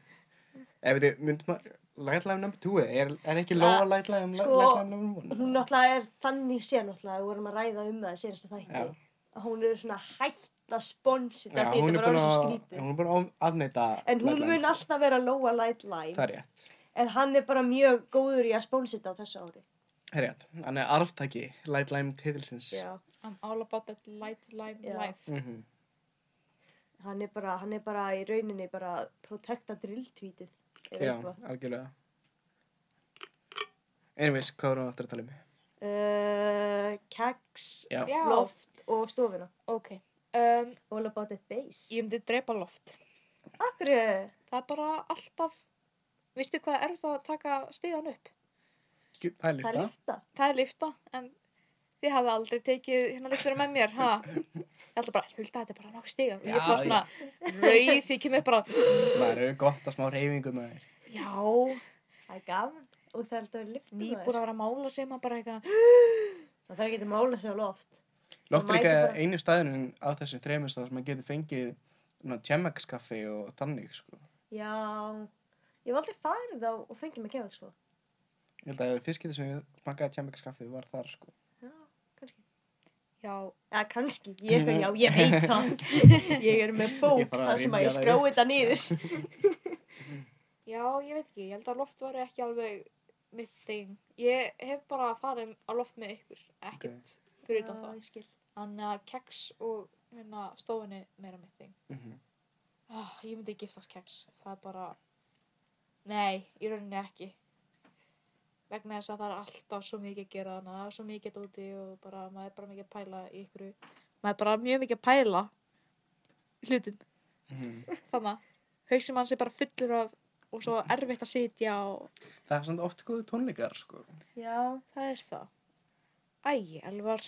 S1: Ef við myndum að Light Lime number two eh, er, er ekki
S2: Ah,
S1: lóa Light Lime
S2: sko,
S1: Light Lime number one
S2: Hún náttúrulega er þannig sé náttúrulega, við vorum að ræða um það senast að þætti.
S1: Já.
S2: Að Hún er svona hætt að sponsi
S1: Já,
S2: þetta því
S1: hún er
S2: þetta var
S1: búin
S2: orðið svo
S1: að
S2: skrítið.
S1: hún er búin að afneita
S2: En hún
S1: Light Lime,
S2: mun
S1: sko.
S2: alltaf vera lóa light lime.
S1: Það er rétt
S2: En hann er bara mjög góður í að spónsita á þessu ári.
S1: Það er rétt, hann er arftaki Light Lime titilsins
S2: Já.
S3: I'm all about that Light Lime
S2: Já.
S3: life
S1: Mhm.
S2: Hann er bara, hann er bara í rauninni bara að protekta drilltvítið.
S1: Já, algjörlega Anyways, hvað vorum við aftur að tala um?
S2: Uh, keks,
S1: Já,
S3: já,
S2: loft og stofuna.
S3: ok um,
S2: All about that bass.
S3: ég myndi drepa loft
S2: Akkur,
S3: það er bara alltaf veistu hvað er það að taka stíðan upp?
S1: Jú, það er
S2: það er
S1: lyfta
S2: lifta.
S3: það er lifta en þið hafði aldrei tekið hérna liftur með mér ha? ég held bara, hulda þetta er bara nokkuð stigar og
S1: Já,
S3: ég bara svona rauð því kemur bara
S1: Það eru gott að smá reyfingu með þér
S3: já,
S2: Það er gaman og það er alltaf lifta.
S3: nýbúr að vera að mála sig maður bara eitthvað
S2: Það þarf ekki að mála sig á loft.
S1: Lóttur
S2: Mæti
S1: líka
S2: bara-
S1: einu staðurinn á þessu þreymist að maður getur fengið tjemmakskaffi og þannig sko.
S2: Já, ég hef aldrei farið þá og fengið mig kemur sko. svo.
S1: Ég held að fiskitið sem ég smakkaði tjemmakskaffi var þar sko.
S2: Já, kannski.
S3: já,
S2: Já, kannski. Ég, eitthvað, já, ég
S1: <laughs>
S2: veit það. Ég er með
S1: Ég
S2: bók
S1: þarf að
S2: þar sem
S1: rifja
S2: að ég
S1: það
S2: skráið það niður.
S3: já, ég veit ekki ég held að loft var ekki alveg mitt þing. Ég hef bara farið á loft með ykkur, ekkert fyrir utan það.
S6: ég skil.
S3: Þannig að keks og hérna, stofunni meira mitt þing.
S1: Mhm.
S3: Ah, ég myndi giftast keks. Það er bara... Nei, í rauninni ekki. Vegna þess að það er alltaf svo mikið að gera þannig. Það er svo mikið úti og bara, maður er bara mikið að pæla í ykkur. Maður er bara mjög mikið að pæla í hlutum.
S1: Mhm.
S3: Þannig að hausinn mann sé bara fullur af og svo erfitt að sitja og
S1: Það er samt oft góðu tónleikar, sko.
S2: Já,
S3: Það er það. Æ, Elvar.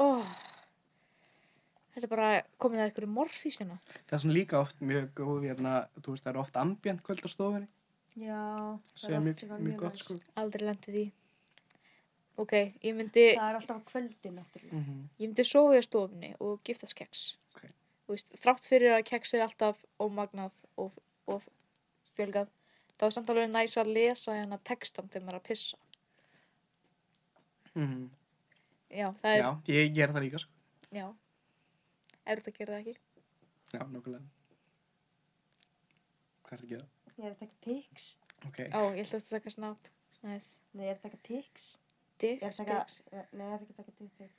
S3: Ó, þetta er bara komið að ykkur í morfísina.
S1: Það er svona líka oft mjög góð, hérna, þú veist, það eru oft ambjent kvöld á stofunni.
S2: já,
S1: sem er mjög, mjög gott, sko.
S3: Aldrei lendið í. Ok, ég myndi,
S2: Það er alltaf á kvöldin, náttúrulega.
S1: Mm -hmm.
S3: ég myndi sofa í stofunni og giftast keks.
S1: Ok.
S3: Þú veist, þrátt fyrir að keks er alltaf ómagnað og, og fjölgað, þá er samt alveg næs að lesa hérna textan þegar maður er að pissa.
S1: Mhm.
S3: Já, það er,
S1: Já, ég gera það líka, sko.
S3: já. Er þetta að gera það ekki?
S1: Já, nokkulega. Hvað er það að gera?
S2: Ég er að taka pics.
S1: Ok.
S3: Ó, ég ætla að taka snab. Næs.
S2: Nei, ég er að taka pics. Ég
S3: Dick,
S2: er að taka... Nei, ég er ekki að taka dick pics.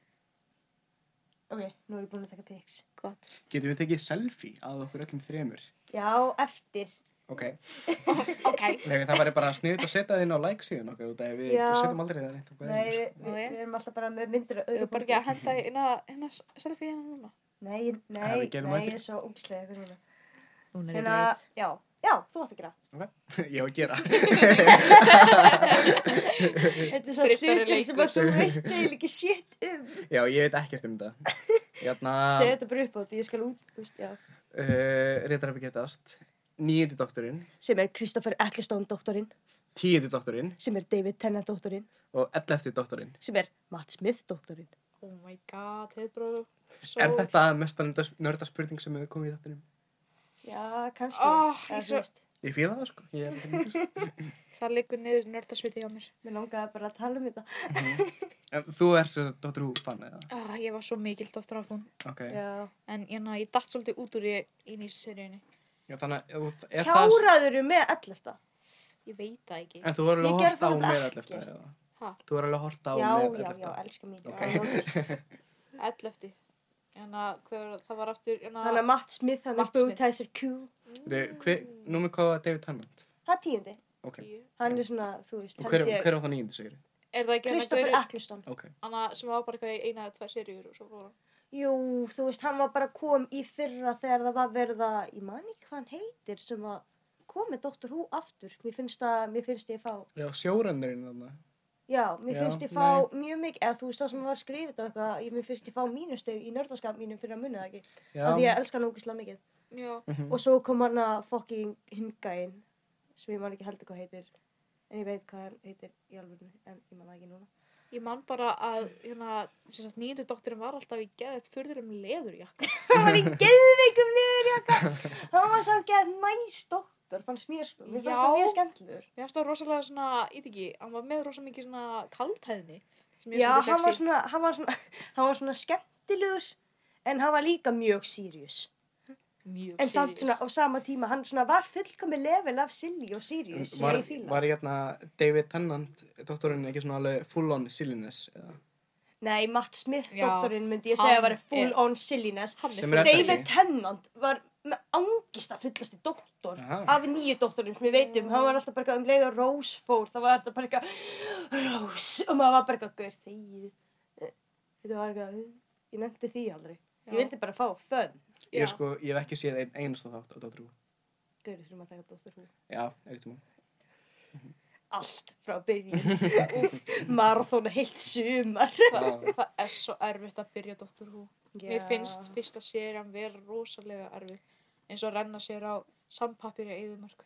S2: Ok, nú er ég búin að taka pics.
S3: Gott.
S1: Getum við tekið selfie að okkur öllum þremur?
S2: Já, eftir.
S1: Ok.
S3: Ok.
S1: Nei, það væri bara sniðut að setja það inn á like síðan okkur, út af við
S2: Já.
S1: setjum aldrei það neitt okkur.
S2: Nei, við,
S3: Ok.
S2: við erum alltaf bara með myndir og
S3: Við
S2: auðvitað.
S3: erum bara ekki að henda inn að hérna selfie hérna núna.
S2: Nei, nei,
S1: Ja, við gerum
S2: nei,
S1: eftir.
S2: ég er svo ógislega eitthvað núna.
S6: Núna
S2: Hérna, já, já, þú átt að gera.
S1: <laughs> Ég á að gera.
S2: <laughs> Þetta er svo
S3: Kryddari
S2: hlutir sem
S3: leikur.
S2: að þú veist eiginlega ekki shit um.
S1: Já, ég veit ekkert um
S2: <laughs>
S1: Hérna, þetta. Jæna,
S2: Segðu þetta bara upp á því, ég skal út, þú veist, já.
S1: uh, reyndar að við getast, nýjandi doktorinn,
S2: Sem er Kristoffer Ecclestone doktorinn,
S1: tíundi doktorinn
S2: sem er David Tennant doktorinn,
S1: og ellefti doktorinn.
S2: sem er Matt Smith doktorinn.
S3: Oh my god, heiðbróðu.
S1: Er þetta mesta nörda spurning sem hefur komið í þettinum?
S2: Já, kannski.
S3: Ah, ég
S2: Eða, þú
S3: svo-
S2: veist,
S1: Ég fíla það sko. Ég er ekki
S2: <laughs>
S1: myndur.
S3: Það liggur niður nördasviti hjá mér.
S2: Mér langaði bara að tala um þetta.
S1: En Þú ert svo Dr. Who fan eða?
S3: Ah, ég var svo mikill dóttur af hún.
S1: Ok. Já,
S2: Já.
S3: En hérna, ég datt svolítið út úr í, í nýjum seríunni.
S1: þannig að þú- er það...
S2: Hjáraður eru með all eftir.
S3: Ég veit það ekki.
S1: En þú er
S2: Ég
S1: alveg hort á
S2: gerði það
S1: með
S2: ekki.
S1: ellefta eða?
S3: Ha,
S1: Þú er alveg hort á með
S2: Já, já, já,
S1: ellefta?
S2: elska mín.
S1: Ok.
S2: Já, alveg.
S1: <laughs>
S3: ell eftir. Hérna, hver, það var aftur, hérna...
S2: Þannig að Matt Smith, hann er
S3: Matt Smith.
S2: Bootizer Q.
S1: Þú- hver- Númer hvað var David Tennant?
S2: Það er tíundi.
S1: Ok.
S3: tíu.
S2: Hann er svona, þú veist,
S1: Og hver, hver var það nýjandi segir?
S3: Er það ekki hérna
S2: Kristoffer
S3: gaurinn-
S2: Ecclestone.
S1: Ok.
S3: Anna sem var bara eitthvað í eina eða tvær seríur og svo fór hann.
S2: Jú, þú veist, hann var bara kom í fyrra þegar það var verða, ég man ekki hvað hann heitir, sem að komi Dr. Who aftur. Mér finnst það, mér finnst ég fá,
S1: Já, sjórennurinn þarna.
S2: já, mér
S1: Já,
S2: finnst ég fá mjög mikið, eða þú veist það sem var skrifið og eitthvað, ég, mér finnst ég fá mínusteg í nördaskap mínum fyrir að muni það ekki.
S1: Já.
S2: Já. Því ég elska hann ógislega mikið.
S3: Já,
S1: Mhm.
S2: Og svo kom hann að fucking hingaðinn, sem ég man ekki heldur hvað heitir, en ég veit hvað hann heitir í alvörinu, en ég man það ekki núna.
S3: ég man bara að hérna, sem sagt, nýjöndu doktorinn var alltaf í geðið fyrður um leðurjakka.
S1: <laughs>
S2: hann var í geðveikum liður jakka hann var svo gett næs doktor fannst mér sko, mér fannst
S3: Já.
S2: það mjög skemmtilegur
S3: Mér finnst það rosalega svona, ég veit ekki, hann var með rosalega mikið svona kaldhæðni sem ég
S2: já,
S3: finnst
S2: hann
S3: svolítið
S2: var,
S3: sexy.
S2: svona, hann, var svona, <laughs> hann var svona skemmtilegur en hann var líka mjög sírjus
S3: Mjög
S2: en samt
S3: serious.
S2: svona á sama tíma hann svona var fullkomi level af silly og
S1: En
S2: sírjus sem
S1: Var,
S2: ég fíla
S1: var hérna David Tennant, doktorinn, ekki svona alveg full on silliness? Eða?
S2: nei, Matt Smith
S3: Já,
S2: doktorinn myndi ég
S3: hann
S2: segja var full
S3: er-
S2: on silliness
S3: Hann
S1: Sem
S3: er
S1: er-
S3: fyrir...
S1: þetta
S2: David
S1: ekki?
S2: Tennant var með angista fullasti doktor
S1: Aha.
S2: af nýju doktorinn sem ég veit um hann var alltaf bara eitthvað um leið og Rose fór það var alltaf bara eitthvað Rose og maður var bara eitthvað gaur þegið þetta var eitthvað ég nefndi því aldrei
S3: Já.
S2: ég vildi bara fá fönn
S1: Ég
S3: Já.
S1: sko, ég hef ekki séð ein, einasta þátt á Dr. Who.
S2: gaur þurfum að taka doktor hú
S1: Já, eitthvað
S2: <laughs>
S1: mál.
S2: allt frá
S3: <laughs>
S2: byrjun marathónu heilt sumar
S1: Já.
S3: Það er svo erfitt að byrja Dr. Who. Mér finnst fyrsta serían vera rosalega erfitt eins og að renna sér á sampapir í eðumörk.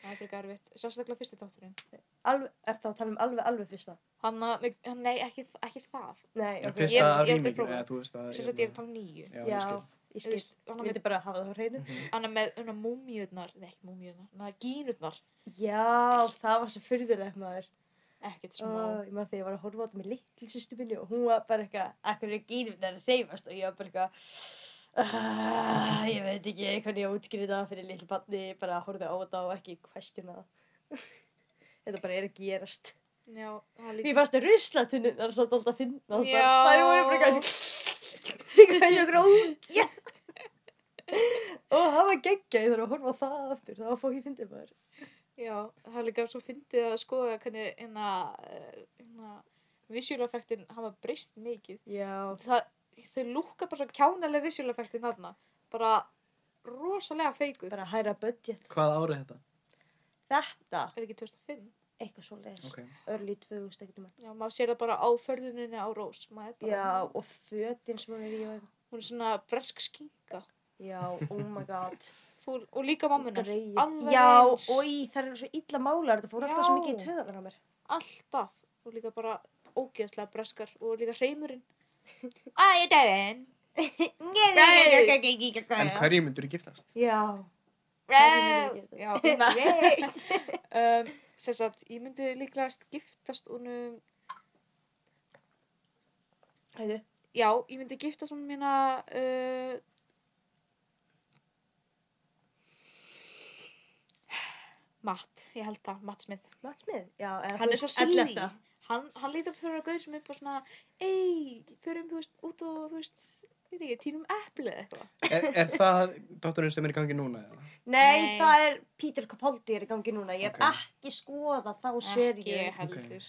S3: það er frekar erfitt. Sérstaklega fyrsti doktorinn.
S2: alveg, er það að tala um alveg alveg fyrsta
S3: Hann að, mig- hann- nei, ekki, ekki það.
S2: nei,
S1: En
S2: ok,
S1: fyrsta
S3: Ég- ég
S1: af
S3: er
S1: rýmingin,
S3: prófa.
S1: eða þú veist að...
S3: Sérstaklega ég er að tala um nýju.
S1: Já,
S2: já,
S1: ég skil.
S2: ég
S3: Þú
S2: skil
S3: veist, Þannig
S2: ég
S3: að
S2: vildi bara hafa það á hreinu
S3: hann er með unna múmiurnar, nei ekki múmiurnar, hann er gínurnar,
S2: já, það var svo fyrðulegt maður
S3: ekkert smá.
S2: Oh, ég maður þegar ég var að horfa á þetta með litli sýstu minni og hún var bara eitthvað, akkur er gýrfinn að reyfast og ég var bara eitthvað, "Ah, ég veit ekki hvernig ég útskýrði það fyrir litli banni, bara horfði á þetta og ekki questiona það. <laughs> þetta bara er að gerast
S3: Já, það er líka.
S2: Mér fannst að ruslatunni þar samt alltaf að finna
S3: Já.
S2: Það voru bara eitthvað Eitthvað svo gróð Og það var geggja Ég þarf að horfa á það aftur Það var fókið fyndið maður
S3: Já, það er líka svo fyndið að skoða hvernig hérna, eh, hérna visual effektin hafa breyst mikið.
S2: Já,
S3: Það, þau lúka bara svo kjánalega visual effektin þarna. Bara rosalega feikuð.
S2: bara hæra budget
S1: Hvað árið þetta?
S2: Þetta,
S3: Er ekki 2005?
S2: eitthvað svo leis
S1: Ok.
S2: Örlí 2000 ekkert um
S3: Já, maður sér það bara á förðuninni á Rós. Maður er bara,
S2: Já, og fötin sem hann er í og eitthvað.
S3: Hún er svona bresk skinka.
S2: Já, oh my god
S3: Fúl, og líka mammunar.
S2: Greyið.
S3: Alveg
S2: Já,
S3: eins.
S2: oi, það er svo illa málar Það fór alltaf svo
S3: Já.
S2: mikið í töðan á mér
S3: Alltaf. Og líka bara ógeðslega breskar. Og líka
S2: <laughs>
S3: hreimurinn. Æ, daginn.
S1: En hverju myndur þú giftast?
S2: Já,
S3: Rós.
S2: Rós.
S3: Já, hérna.
S2: <laughs> veit
S3: um, sem sagt, ég myndi líklegast giftast honum
S2: Hæðu,
S3: já, ég myndi giftast honum mína uh, Matt, ég held það, Matt Smith
S2: Matt Smith, já eða
S3: hann
S2: þú
S3: er svo
S2: veist,
S3: silly
S2: 11.
S3: hann, hann lítur út fyrir að gauð sem er bara svona ei, förum, þú veist, út og þú veist, við ekki, tínum eplið eða eitthvað
S1: Er, er það dótturinn sem er í gangi núna? eða?
S2: Nei,
S3: Nei.
S2: það er Peter Capaldi er í gangi núna. Ég hef
S1: Ok.
S2: ekki skoðað þá serju
S3: ekki heldur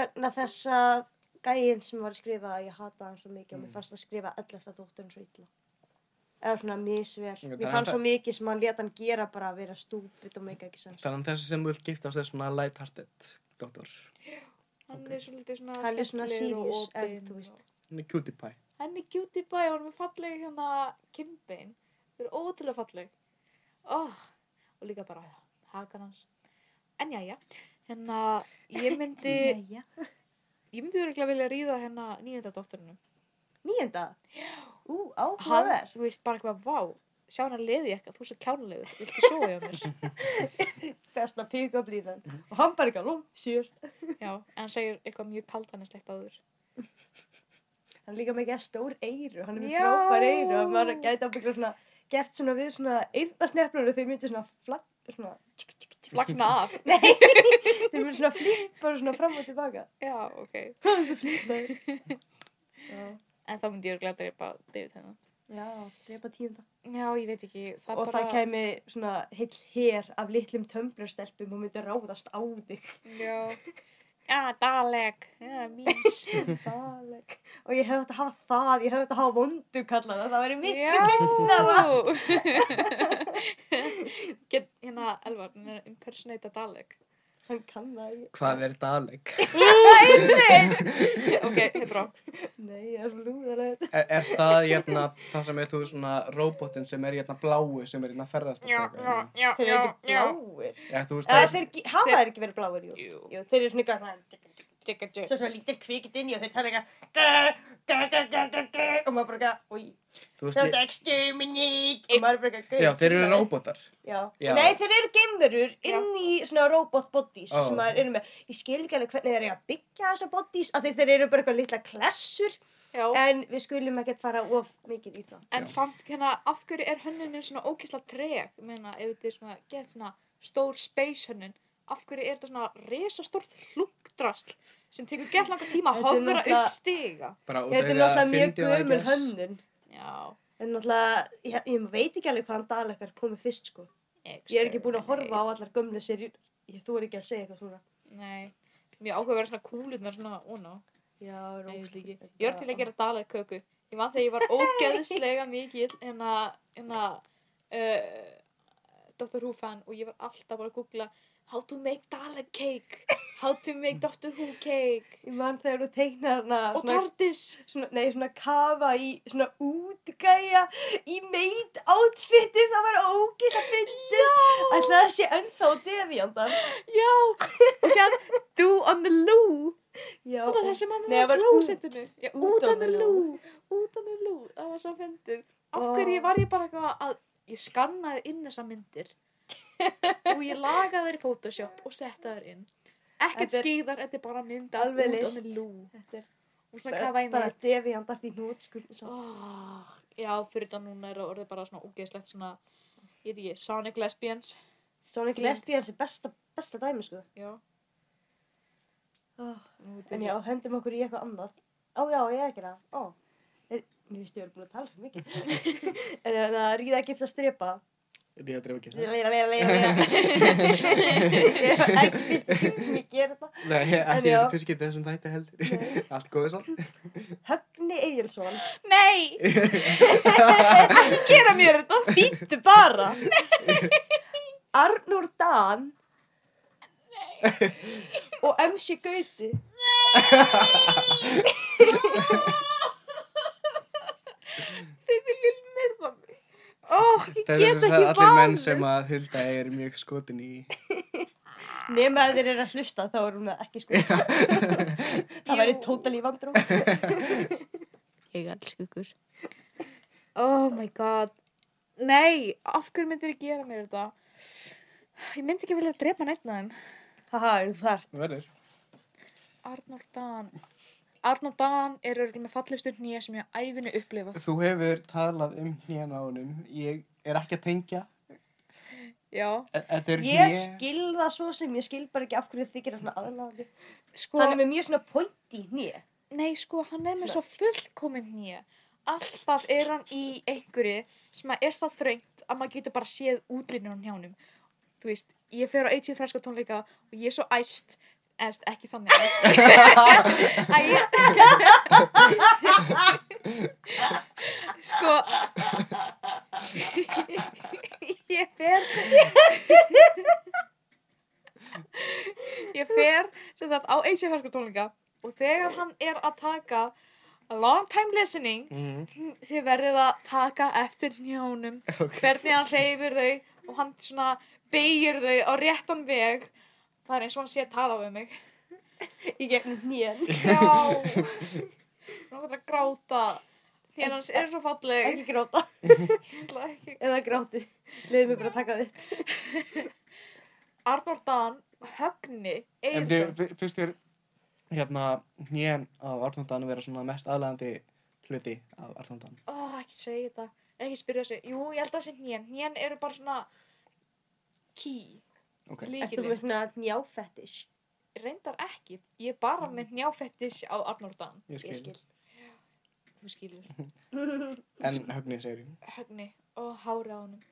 S2: vegna þess að gæinn sem var að skrifa, ég hata hann svo mikið og
S3: Mm.
S2: mér fannst að skrifa 11. dótturinn svo illa. Eða svona misver.
S1: Ok, þannig
S2: Mér
S1: að
S2: fannst
S1: það-
S2: svo mikið sem hann let hann gera bara að vera stúpid og meika ekki sens.
S1: Þannig að þessi sem þú vilt giftast er svona light-hearted dóttur.
S3: hann
S1: Ok.
S3: er svolítið svona
S2: Hann er svona
S3: skemmtilegur og
S2: serious, en
S3: opinn
S2: þú
S3: og-
S2: veist.
S1: Hún er cutie pie.
S3: Henni cutie pie og hann er falleg hérna kinnbein. Þau eru ótrúlega falleg. Oh, og líka bara hakan hans. En jæja, hérna ég <laughs> myndi,
S2: Jæja.
S3: ég myndi örgulega vilja ríða hérna nýjönda dótturinu.
S2: Nýjenda? Ú,
S3: Hann,
S2: áhugaver.
S3: þú veist bara eitthvað, vá, sjá hann leði eitthvað, þú er svo kjánulegur, viltu sofa hjá <laughs> mér?
S2: Besta píkablínan. Og hann bara ekki alveg, sér.
S3: Já, en hann segir eitthvað mjög kaldannislegt áður.
S2: hann er líka með ekki stór eyru, hann er með
S3: Já.
S2: frábær eyru og maður gæti ábyggla svona gert svona við svona eyrnasneflur og þau myndir svona flapp svona, tsk, tsk, tsk,
S3: Flagna af.
S2: tsk, þau myndir svona flippa og svona fram og tilbaka
S3: <laughs> Já, ok.
S2: það flippa þér já,
S3: En þá myndi ég örgulega drepa David hérna. hennan.
S2: já, drepa tíunda
S3: Já, ég veit ekki, það
S2: og
S3: bara...
S2: það kæmi svona heill hér af litlum tömblurstelpum og myndi ráðast á
S3: <laughs>
S2: þig
S3: Já, já, Ah, Dalek, Ah, já, Mís.
S2: <laughs> Dalek. og ég hef þetta að hafa það, ég hef þetta að hafa vondu kallana, það væri miklu
S3: minna <laughs> Get, hérna, Elvar, hann er að impersonata Dalek.
S2: hann kann það ekki.
S1: Hvað er Dalek?
S3: Ok, þetta er bra.
S2: nei, ég er svo lúðalegt
S1: Er, er það hérna, það sem er þú svona robotinn sem er hérna bláu sem er hérna ferðast og stráka, hérna?
S3: já,
S2: þeir eru ekki bláir
S1: Já, þú veist
S2: Eða
S1: það
S2: þeir ge- hafa þeir ekki verið bláir, jú.
S3: Jú,
S2: Jú, þeir eru svona eitthvað,
S3: tjekka,
S2: svo
S3: tjekka.
S2: svona lítil kvikitt inn í og þeir tala eitthvað, gæ, gæ, gæ, gæ, gæ, gæ, og maður bara eitthvað, új,
S1: þú veist,
S2: þetta exterminate, og maður bara eitthvað, gauð.
S1: Já, þeir eru robotar.
S2: um Já.
S1: Já.
S2: Nei, þeir eru geimurur inn í svona robot bodies
S1: Ó.
S2: sem maður eru með. Ég skil ekki alveg hvernig þeir eru að byggja þessa bodies, af því þeir eru bara eitthvað litla klessur,
S3: Já,
S2: en við skulum ekkert fara of mikið í það.
S3: en samt, hérna, af hverju er hönnunin svona ókísla treg? Meina, ef þetta er svona, get svona stór space hönnun, af hverju er þetta svona resastórt hlungdrasl sem tekur gett langa tíma að
S2: Þetta er
S3: hofra
S2: náttúrulega-
S3: upp stiga?
S1: Bara út
S2: Þetta Hérna er
S1: af því
S2: náttúrulega
S1: að
S2: mjög
S1: fyndi og
S2: gömul
S1: æglas.
S2: hönnun.
S3: Já,
S2: En náttúrulega, ég, ég veit ekki alveg hvaðan dalekar komið fyrst, sko. Ég er ekki búin að horfa á allar gömlu serjur. Ég þú er ekki að segja eitthvað svona.
S3: Nei, mjög áhuga að vera svona kúlurnar svona óná.
S2: Já,
S3: Nei, ég veist ekki.
S2: rómantík.
S3: Ég var til að gera dalaköku. Ég man þegar ég var ógeðslega mikið hérna, hérna, uh, Dr. Who fan og ég var alltaf bara að googla How to make Dalek cake, how to make Dr. Who cake
S2: Ég man þegar þú teiknar hana
S3: og
S2: svona,
S3: Tardis.
S2: svona, nei, svona kafa í svona útgæja í meit átfitti, það var ógísla fyndi. Ætla það sé ennþá devíandar.
S3: Já, og séðan Do on the loo.
S2: Já,
S3: Það var
S2: og-
S3: það sem hann
S2: Nei, það
S3: var
S2: var
S3: á klósettinu. Já,
S2: Út
S3: Út
S2: on
S3: on the
S2: the
S3: loo, út on the loo. Það var svo fyndið. Af
S2: Ó.
S3: hverju var ég bara eitthvað að ég skannaði inn þessa
S2: <laughs>
S3: myndir og ég lagaði þær í Photoshop og setti þær inn. Ekkert
S2: Þetta er-
S3: skýðar, þetta er bara mynd af
S2: Alveg
S3: út on
S2: list.
S3: the loo.
S2: þetta er
S3: Og svona kafa í
S2: bara
S3: mig.
S2: devíandar því nótskurn samt.
S3: Oh, já, fyrir þetta núna er það orðið bara svona ógeðslegt svona, ég veit ekki, Sonic Lesbians.
S2: Sonic
S3: Fín.
S2: Lesbians er besta, besta dæmi, sko.
S3: Já.
S2: Oh.
S3: Nú, þetta er-
S2: En já, hendum okkur í eitthvað annað. Ó já, ég er ekki það. Ó, er, mér finnst ég verið búin að tala svo mikið. <laughs> en en að ríða að gifta strepa.
S1: Ríða drefa ekki þess.
S2: Leila, leila, leila, leila. <laughs> Ég er ekki fyrst skipti sem ég ger þetta.
S1: Nei, ekki
S2: já.
S1: þetta fyrst getið þessum þætti heldur.
S2: <laughs>
S1: Allt góðið samt.
S2: Högni Egilson.
S3: Nei! Ekki gera mér þetta!
S2: Býttu <laughs> bara! Arnur Dan. Og MC Gauti.
S3: <laughs> Þið viljum myrða mig. Ó, ég
S1: Það
S3: get
S1: er
S3: ekki
S1: þess
S3: vanið.
S1: að allir menn sem að Hulda er mjög skotin í.
S2: Nefn að þeir eru að hlusta þá er hún það ekki sko. það væri tótali vandrú.
S6: Ég elsku ykkur.
S3: Oh my god. Nei, af hverju myndir ég gera mér þetta? Ég myndi ekki vilja drepa neitt af þeim.
S2: Haha, er þú þart?
S1: Það verður.
S3: Arnold Dan. Arnold Dan er örgulega með fallegustu nýja sem ég á æfinu upplifað.
S1: Þú hefur talað um hnján á honum. Ég er ekki að tengja.
S3: Já,
S1: E- Þetta er
S2: Ég skil það svo sem ég skil bara ekki af hverju þið gerir svona aðlæðandi.
S3: sko,
S2: Hann er með mjög svona pointi nýja.
S3: nei sko, hann er með svo fullkominn nýja. Alltaf er hann í einhverju sem að er það þröngt að maður getur bara séð útlínur á hjánum. Þú veist, ég fer á 80 franska tónleika og ég er svo æst, eðst, ekki þannig æst. að ég... sko... ég fer... ég fer, sem sagt, á 80 franska tónleika og þegar hann er að taka a long time listening
S1: Mhm.
S3: þið verðið að taka eftir njónum hvernig hann reyfir þau og hann svona beigir þau á réttan veg það er eins og hann sé að tala við mig
S2: Í gegnum nýjan.
S3: <laughs> já hann er að gráta því hans er svo falleg
S2: Ekki gráta.
S3: Ég ætla ekki-
S2: Eða gráti. Leðið mér bara að taka þið.
S3: Arnór Dan högni
S1: En þið,
S3: Egilson
S1: fi- finnst þér hérna hnján á Arnóndan vera svona mest aðlæðandi hluti af Arnóndan?
S3: ó ekki segja þetta ekki spyrja þessu jú ég held að það sé nén nén eru bara svona key
S1: Ok.
S2: Ertu
S3: líkilinn
S2: með svona njáfettish?
S3: reyndar ekki ég er bara með njáfettis á Arnór Dan
S1: Mm. Ég skil.
S2: Ég skil.
S3: þú skilur
S1: En högni segir ég.
S3: högni og hárið á honum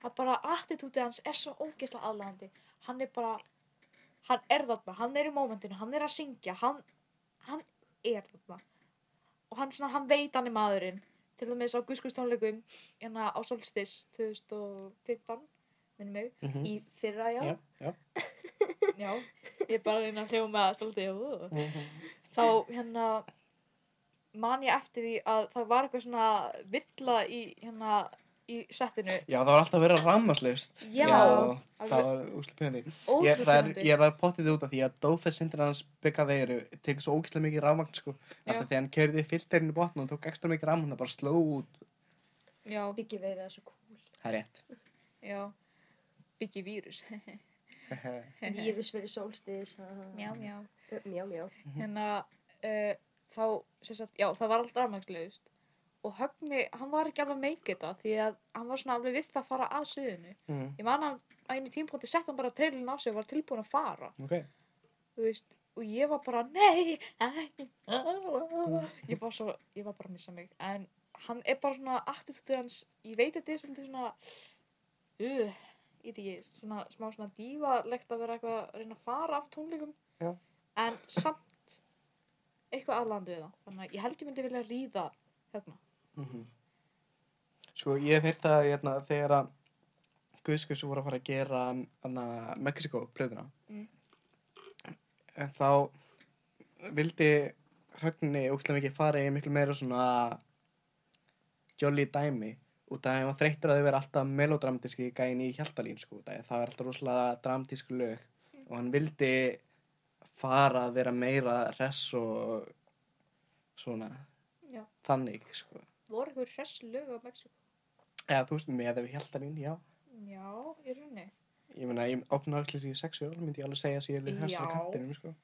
S3: það er bara attitútið hans er svo ógeðslega aðlandi hann er bara hann er þarna, hann er í mómentinu, hann er að syngja hann, hann er þarna og hann, svona, hann veit hann er maðurinn til dæmis á guðskustónleikum hérna á Solstis 2015 minnum mig,
S1: Mhm.
S2: Í fyrra, já.
S1: Já, já.
S3: já ég er bara að reyna að hljóma með svolítið
S1: Mhm.
S3: þá hérna man ég eftir því að það var eitthvað svona villa í hérna í settinu
S1: Já, það var alltaf verið rammaslaust.
S3: Já.
S1: það var úslega pinandi. Ég, það er,
S3: ótrúlega
S1: ég var pottið út af því að Dófess sindir hans byggað veiru tekur svo ógislega mikið rafmagn sko
S3: Já.
S1: alltaf þegar hann kerði filterinn í botn og tók ekstra mikið rafmagn það bara sló út
S3: Já,
S2: Byggi veið það er svo cool.
S1: það er rétt
S3: já. Byggi vírus. <laughs>
S2: Vírus verið sólstiðis.
S3: Mjá, mjá.
S2: Mjá, mjá.
S1: Mhm.
S3: Hérna, uh, þá, sem sagt, já, það var allt rafmagnslaust. Og Högni, hann var ekki alveg að meika þetta því að hann var svona alveg við það að fara að suðinu.
S1: mm.
S3: Ég man hann á einu tímpóti sett hann bara treylun á sig og var tilbúin að fara,
S1: ok,
S3: þú veist. Og ég var bara, nei, ekki. Ég var svo, ég var bara að missa mig. En hann er bara svona, attitútið hans, ég veit að þetta er svolítið svona, uh, ég veit ekki, svona smá svona dívalegt að vera eitthvað að reyna að fara af tónleikum
S1: Já.
S3: en samt eitthvað aðlandu við það þannig að ég held ég myndi vilja ríða högna
S1: Mhm. sko ég hef heyrt það hérna, þegar að Guðskus voru að fara að gera hérna, hana, Mexiko plöðuna
S3: Mm.
S1: en þá vildi högni ógislega mikið fara í miklu meira svona jolly dæmi út af að hann var þreyttur að þau vera alltaf melodramatíski gæin í Hjaltalín sko, út af því það er alltaf rosalega dramatísk lög og hann vildi fara að vera meira hress og svona
S3: Já.
S1: þannig sko
S3: voru eitthvað hress lög á Mexiko
S1: eða þú veist með ef Hjaltalín, já
S3: já, í rauninni
S1: ég meina, ég opna allir sér í sexuál myndi ég alveg segja að ég er hress á
S3: Já.
S1: kantinum sko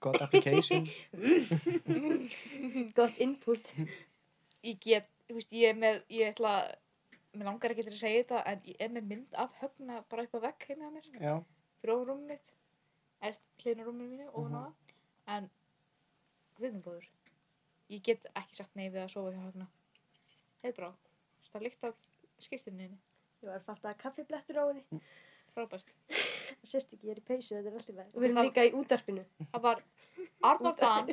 S1: God application
S2: <laughs>
S1: <laughs>
S2: Gott input.
S3: ég get, þú veist, ég er með ég ætla, mér langar ekki til að segja þetta en ég er með mynd af högna bara upp á vegg heima á mér
S1: já,
S3: fyrir ofan rúmum mitt eðst hlinarúminu mínu ofan á það en guðmengóður ég get ekki sagt nei við að sofa hjá hana heiðbrá, það líkt af skýrtuninni
S2: Ég var að fatta að kaffiblettur á henni.
S3: frábært,
S2: Það sést ekki, ég er í peysu, þetta er alltaf með.
S3: Og
S2: Við erum
S3: það-
S2: líka í útarpinu.
S3: það var Arnar Dan,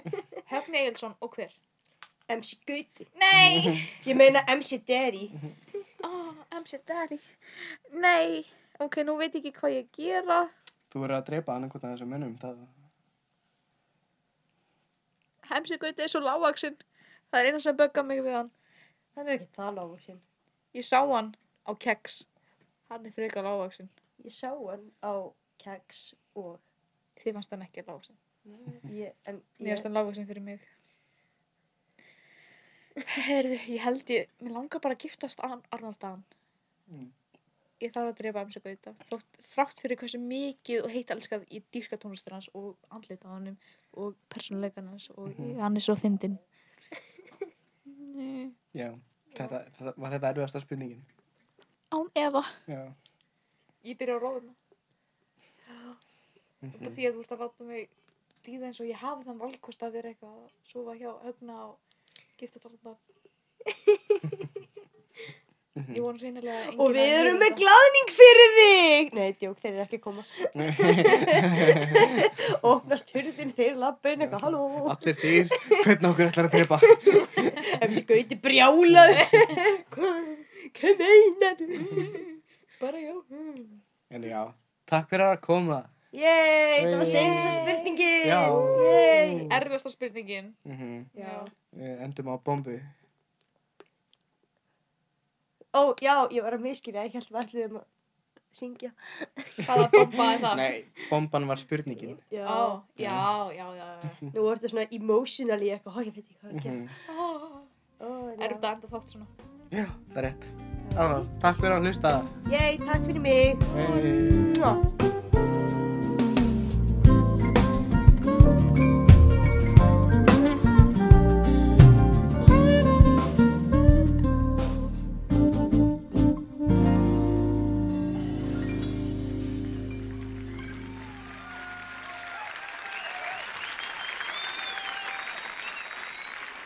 S3: Högni Egilson og hver
S2: MC Gauti.
S3: nei,
S2: Ég meina MC Derry.
S6: Oh, I'm so daddy. Nei, ok, nú veit ég ekki hvað ég gera.
S1: Þú verður að dreipa annarkotna þessum mönnum. Það,
S6: Hemsugauti er svo lágvaksinn. Það er eina sem böggar mig við hann.
S2: Hann er ekki það lágur sinn.
S3: ég sá hann á keks hann er frekar lágvaksinn
S2: Ég sá hann á keks og
S3: þið fannst hann ekki lágvaksinn
S2: ég, en
S3: mér
S2: ég,
S3: fannst hann lágvaksinn fyrir mig heyrðu, ég held ég mér langar bara að giftast an, Arnar Dan
S1: Mm.
S3: ég þarf að drepa MC Gauta Þótt, þrátt fyrir hversu mikið og heitt elskað í dýrka tónlistur hans og andlita á hannum og persónuleikan hans og hann er svo fyndinn Nei,
S1: já, þetta, þetta var þetta erfiðasta spurningin.
S6: Án efa.
S1: Já.
S3: ég byrja á róðuna
S1: Mhm.
S3: út af því að þú ert að láta mig líða eins og ég hafi þann valkost að vera eitthvað að sofa hjá högna og gifta tólunda ég vona sveinilega að enginn
S2: og við
S3: hafi
S2: erum
S3: heyrt
S2: með
S3: þetta.
S2: glaðning fyrir þig. Nei, djók, þeir eru ekki
S3: <laughs>
S2: að koma. Opnast hurðin, þeir lappa inn eitthvað, halló.
S1: Allir þýr, hvernig okkur ætlar að dreipa?
S2: MC Gauti
S3: <laughs>
S2: brjálaður. Hvað meinar þú?
S3: bara já hm.
S1: En já, takk fyrir að koma.
S2: Yey, það var
S1: Yay.
S2: seinasta spurningin.
S1: Já.
S2: Yey.
S3: erfiðasta spurningin
S1: Mm
S3: já.
S1: Við endum á bombu.
S2: Ó, já, ég var að miskina, ég held við ætluðum að syngja.
S3: hvaða bomba er það
S1: Nei, bomban var spurningin.
S2: Já.
S3: Ó, já, já, já, já.
S2: Nú voru þetta svona emotionally eitthvað, ó, ég veit ekki hvað að gera.
S1: Mhm.
S3: Ó,
S2: Ó, já.
S3: erfitt að enda þátt svona
S1: Já, það er rétt. Já, takk fyrir að hlusta.
S2: Yey, takk fyrir mig.
S1: Hey.
S2: Mwah.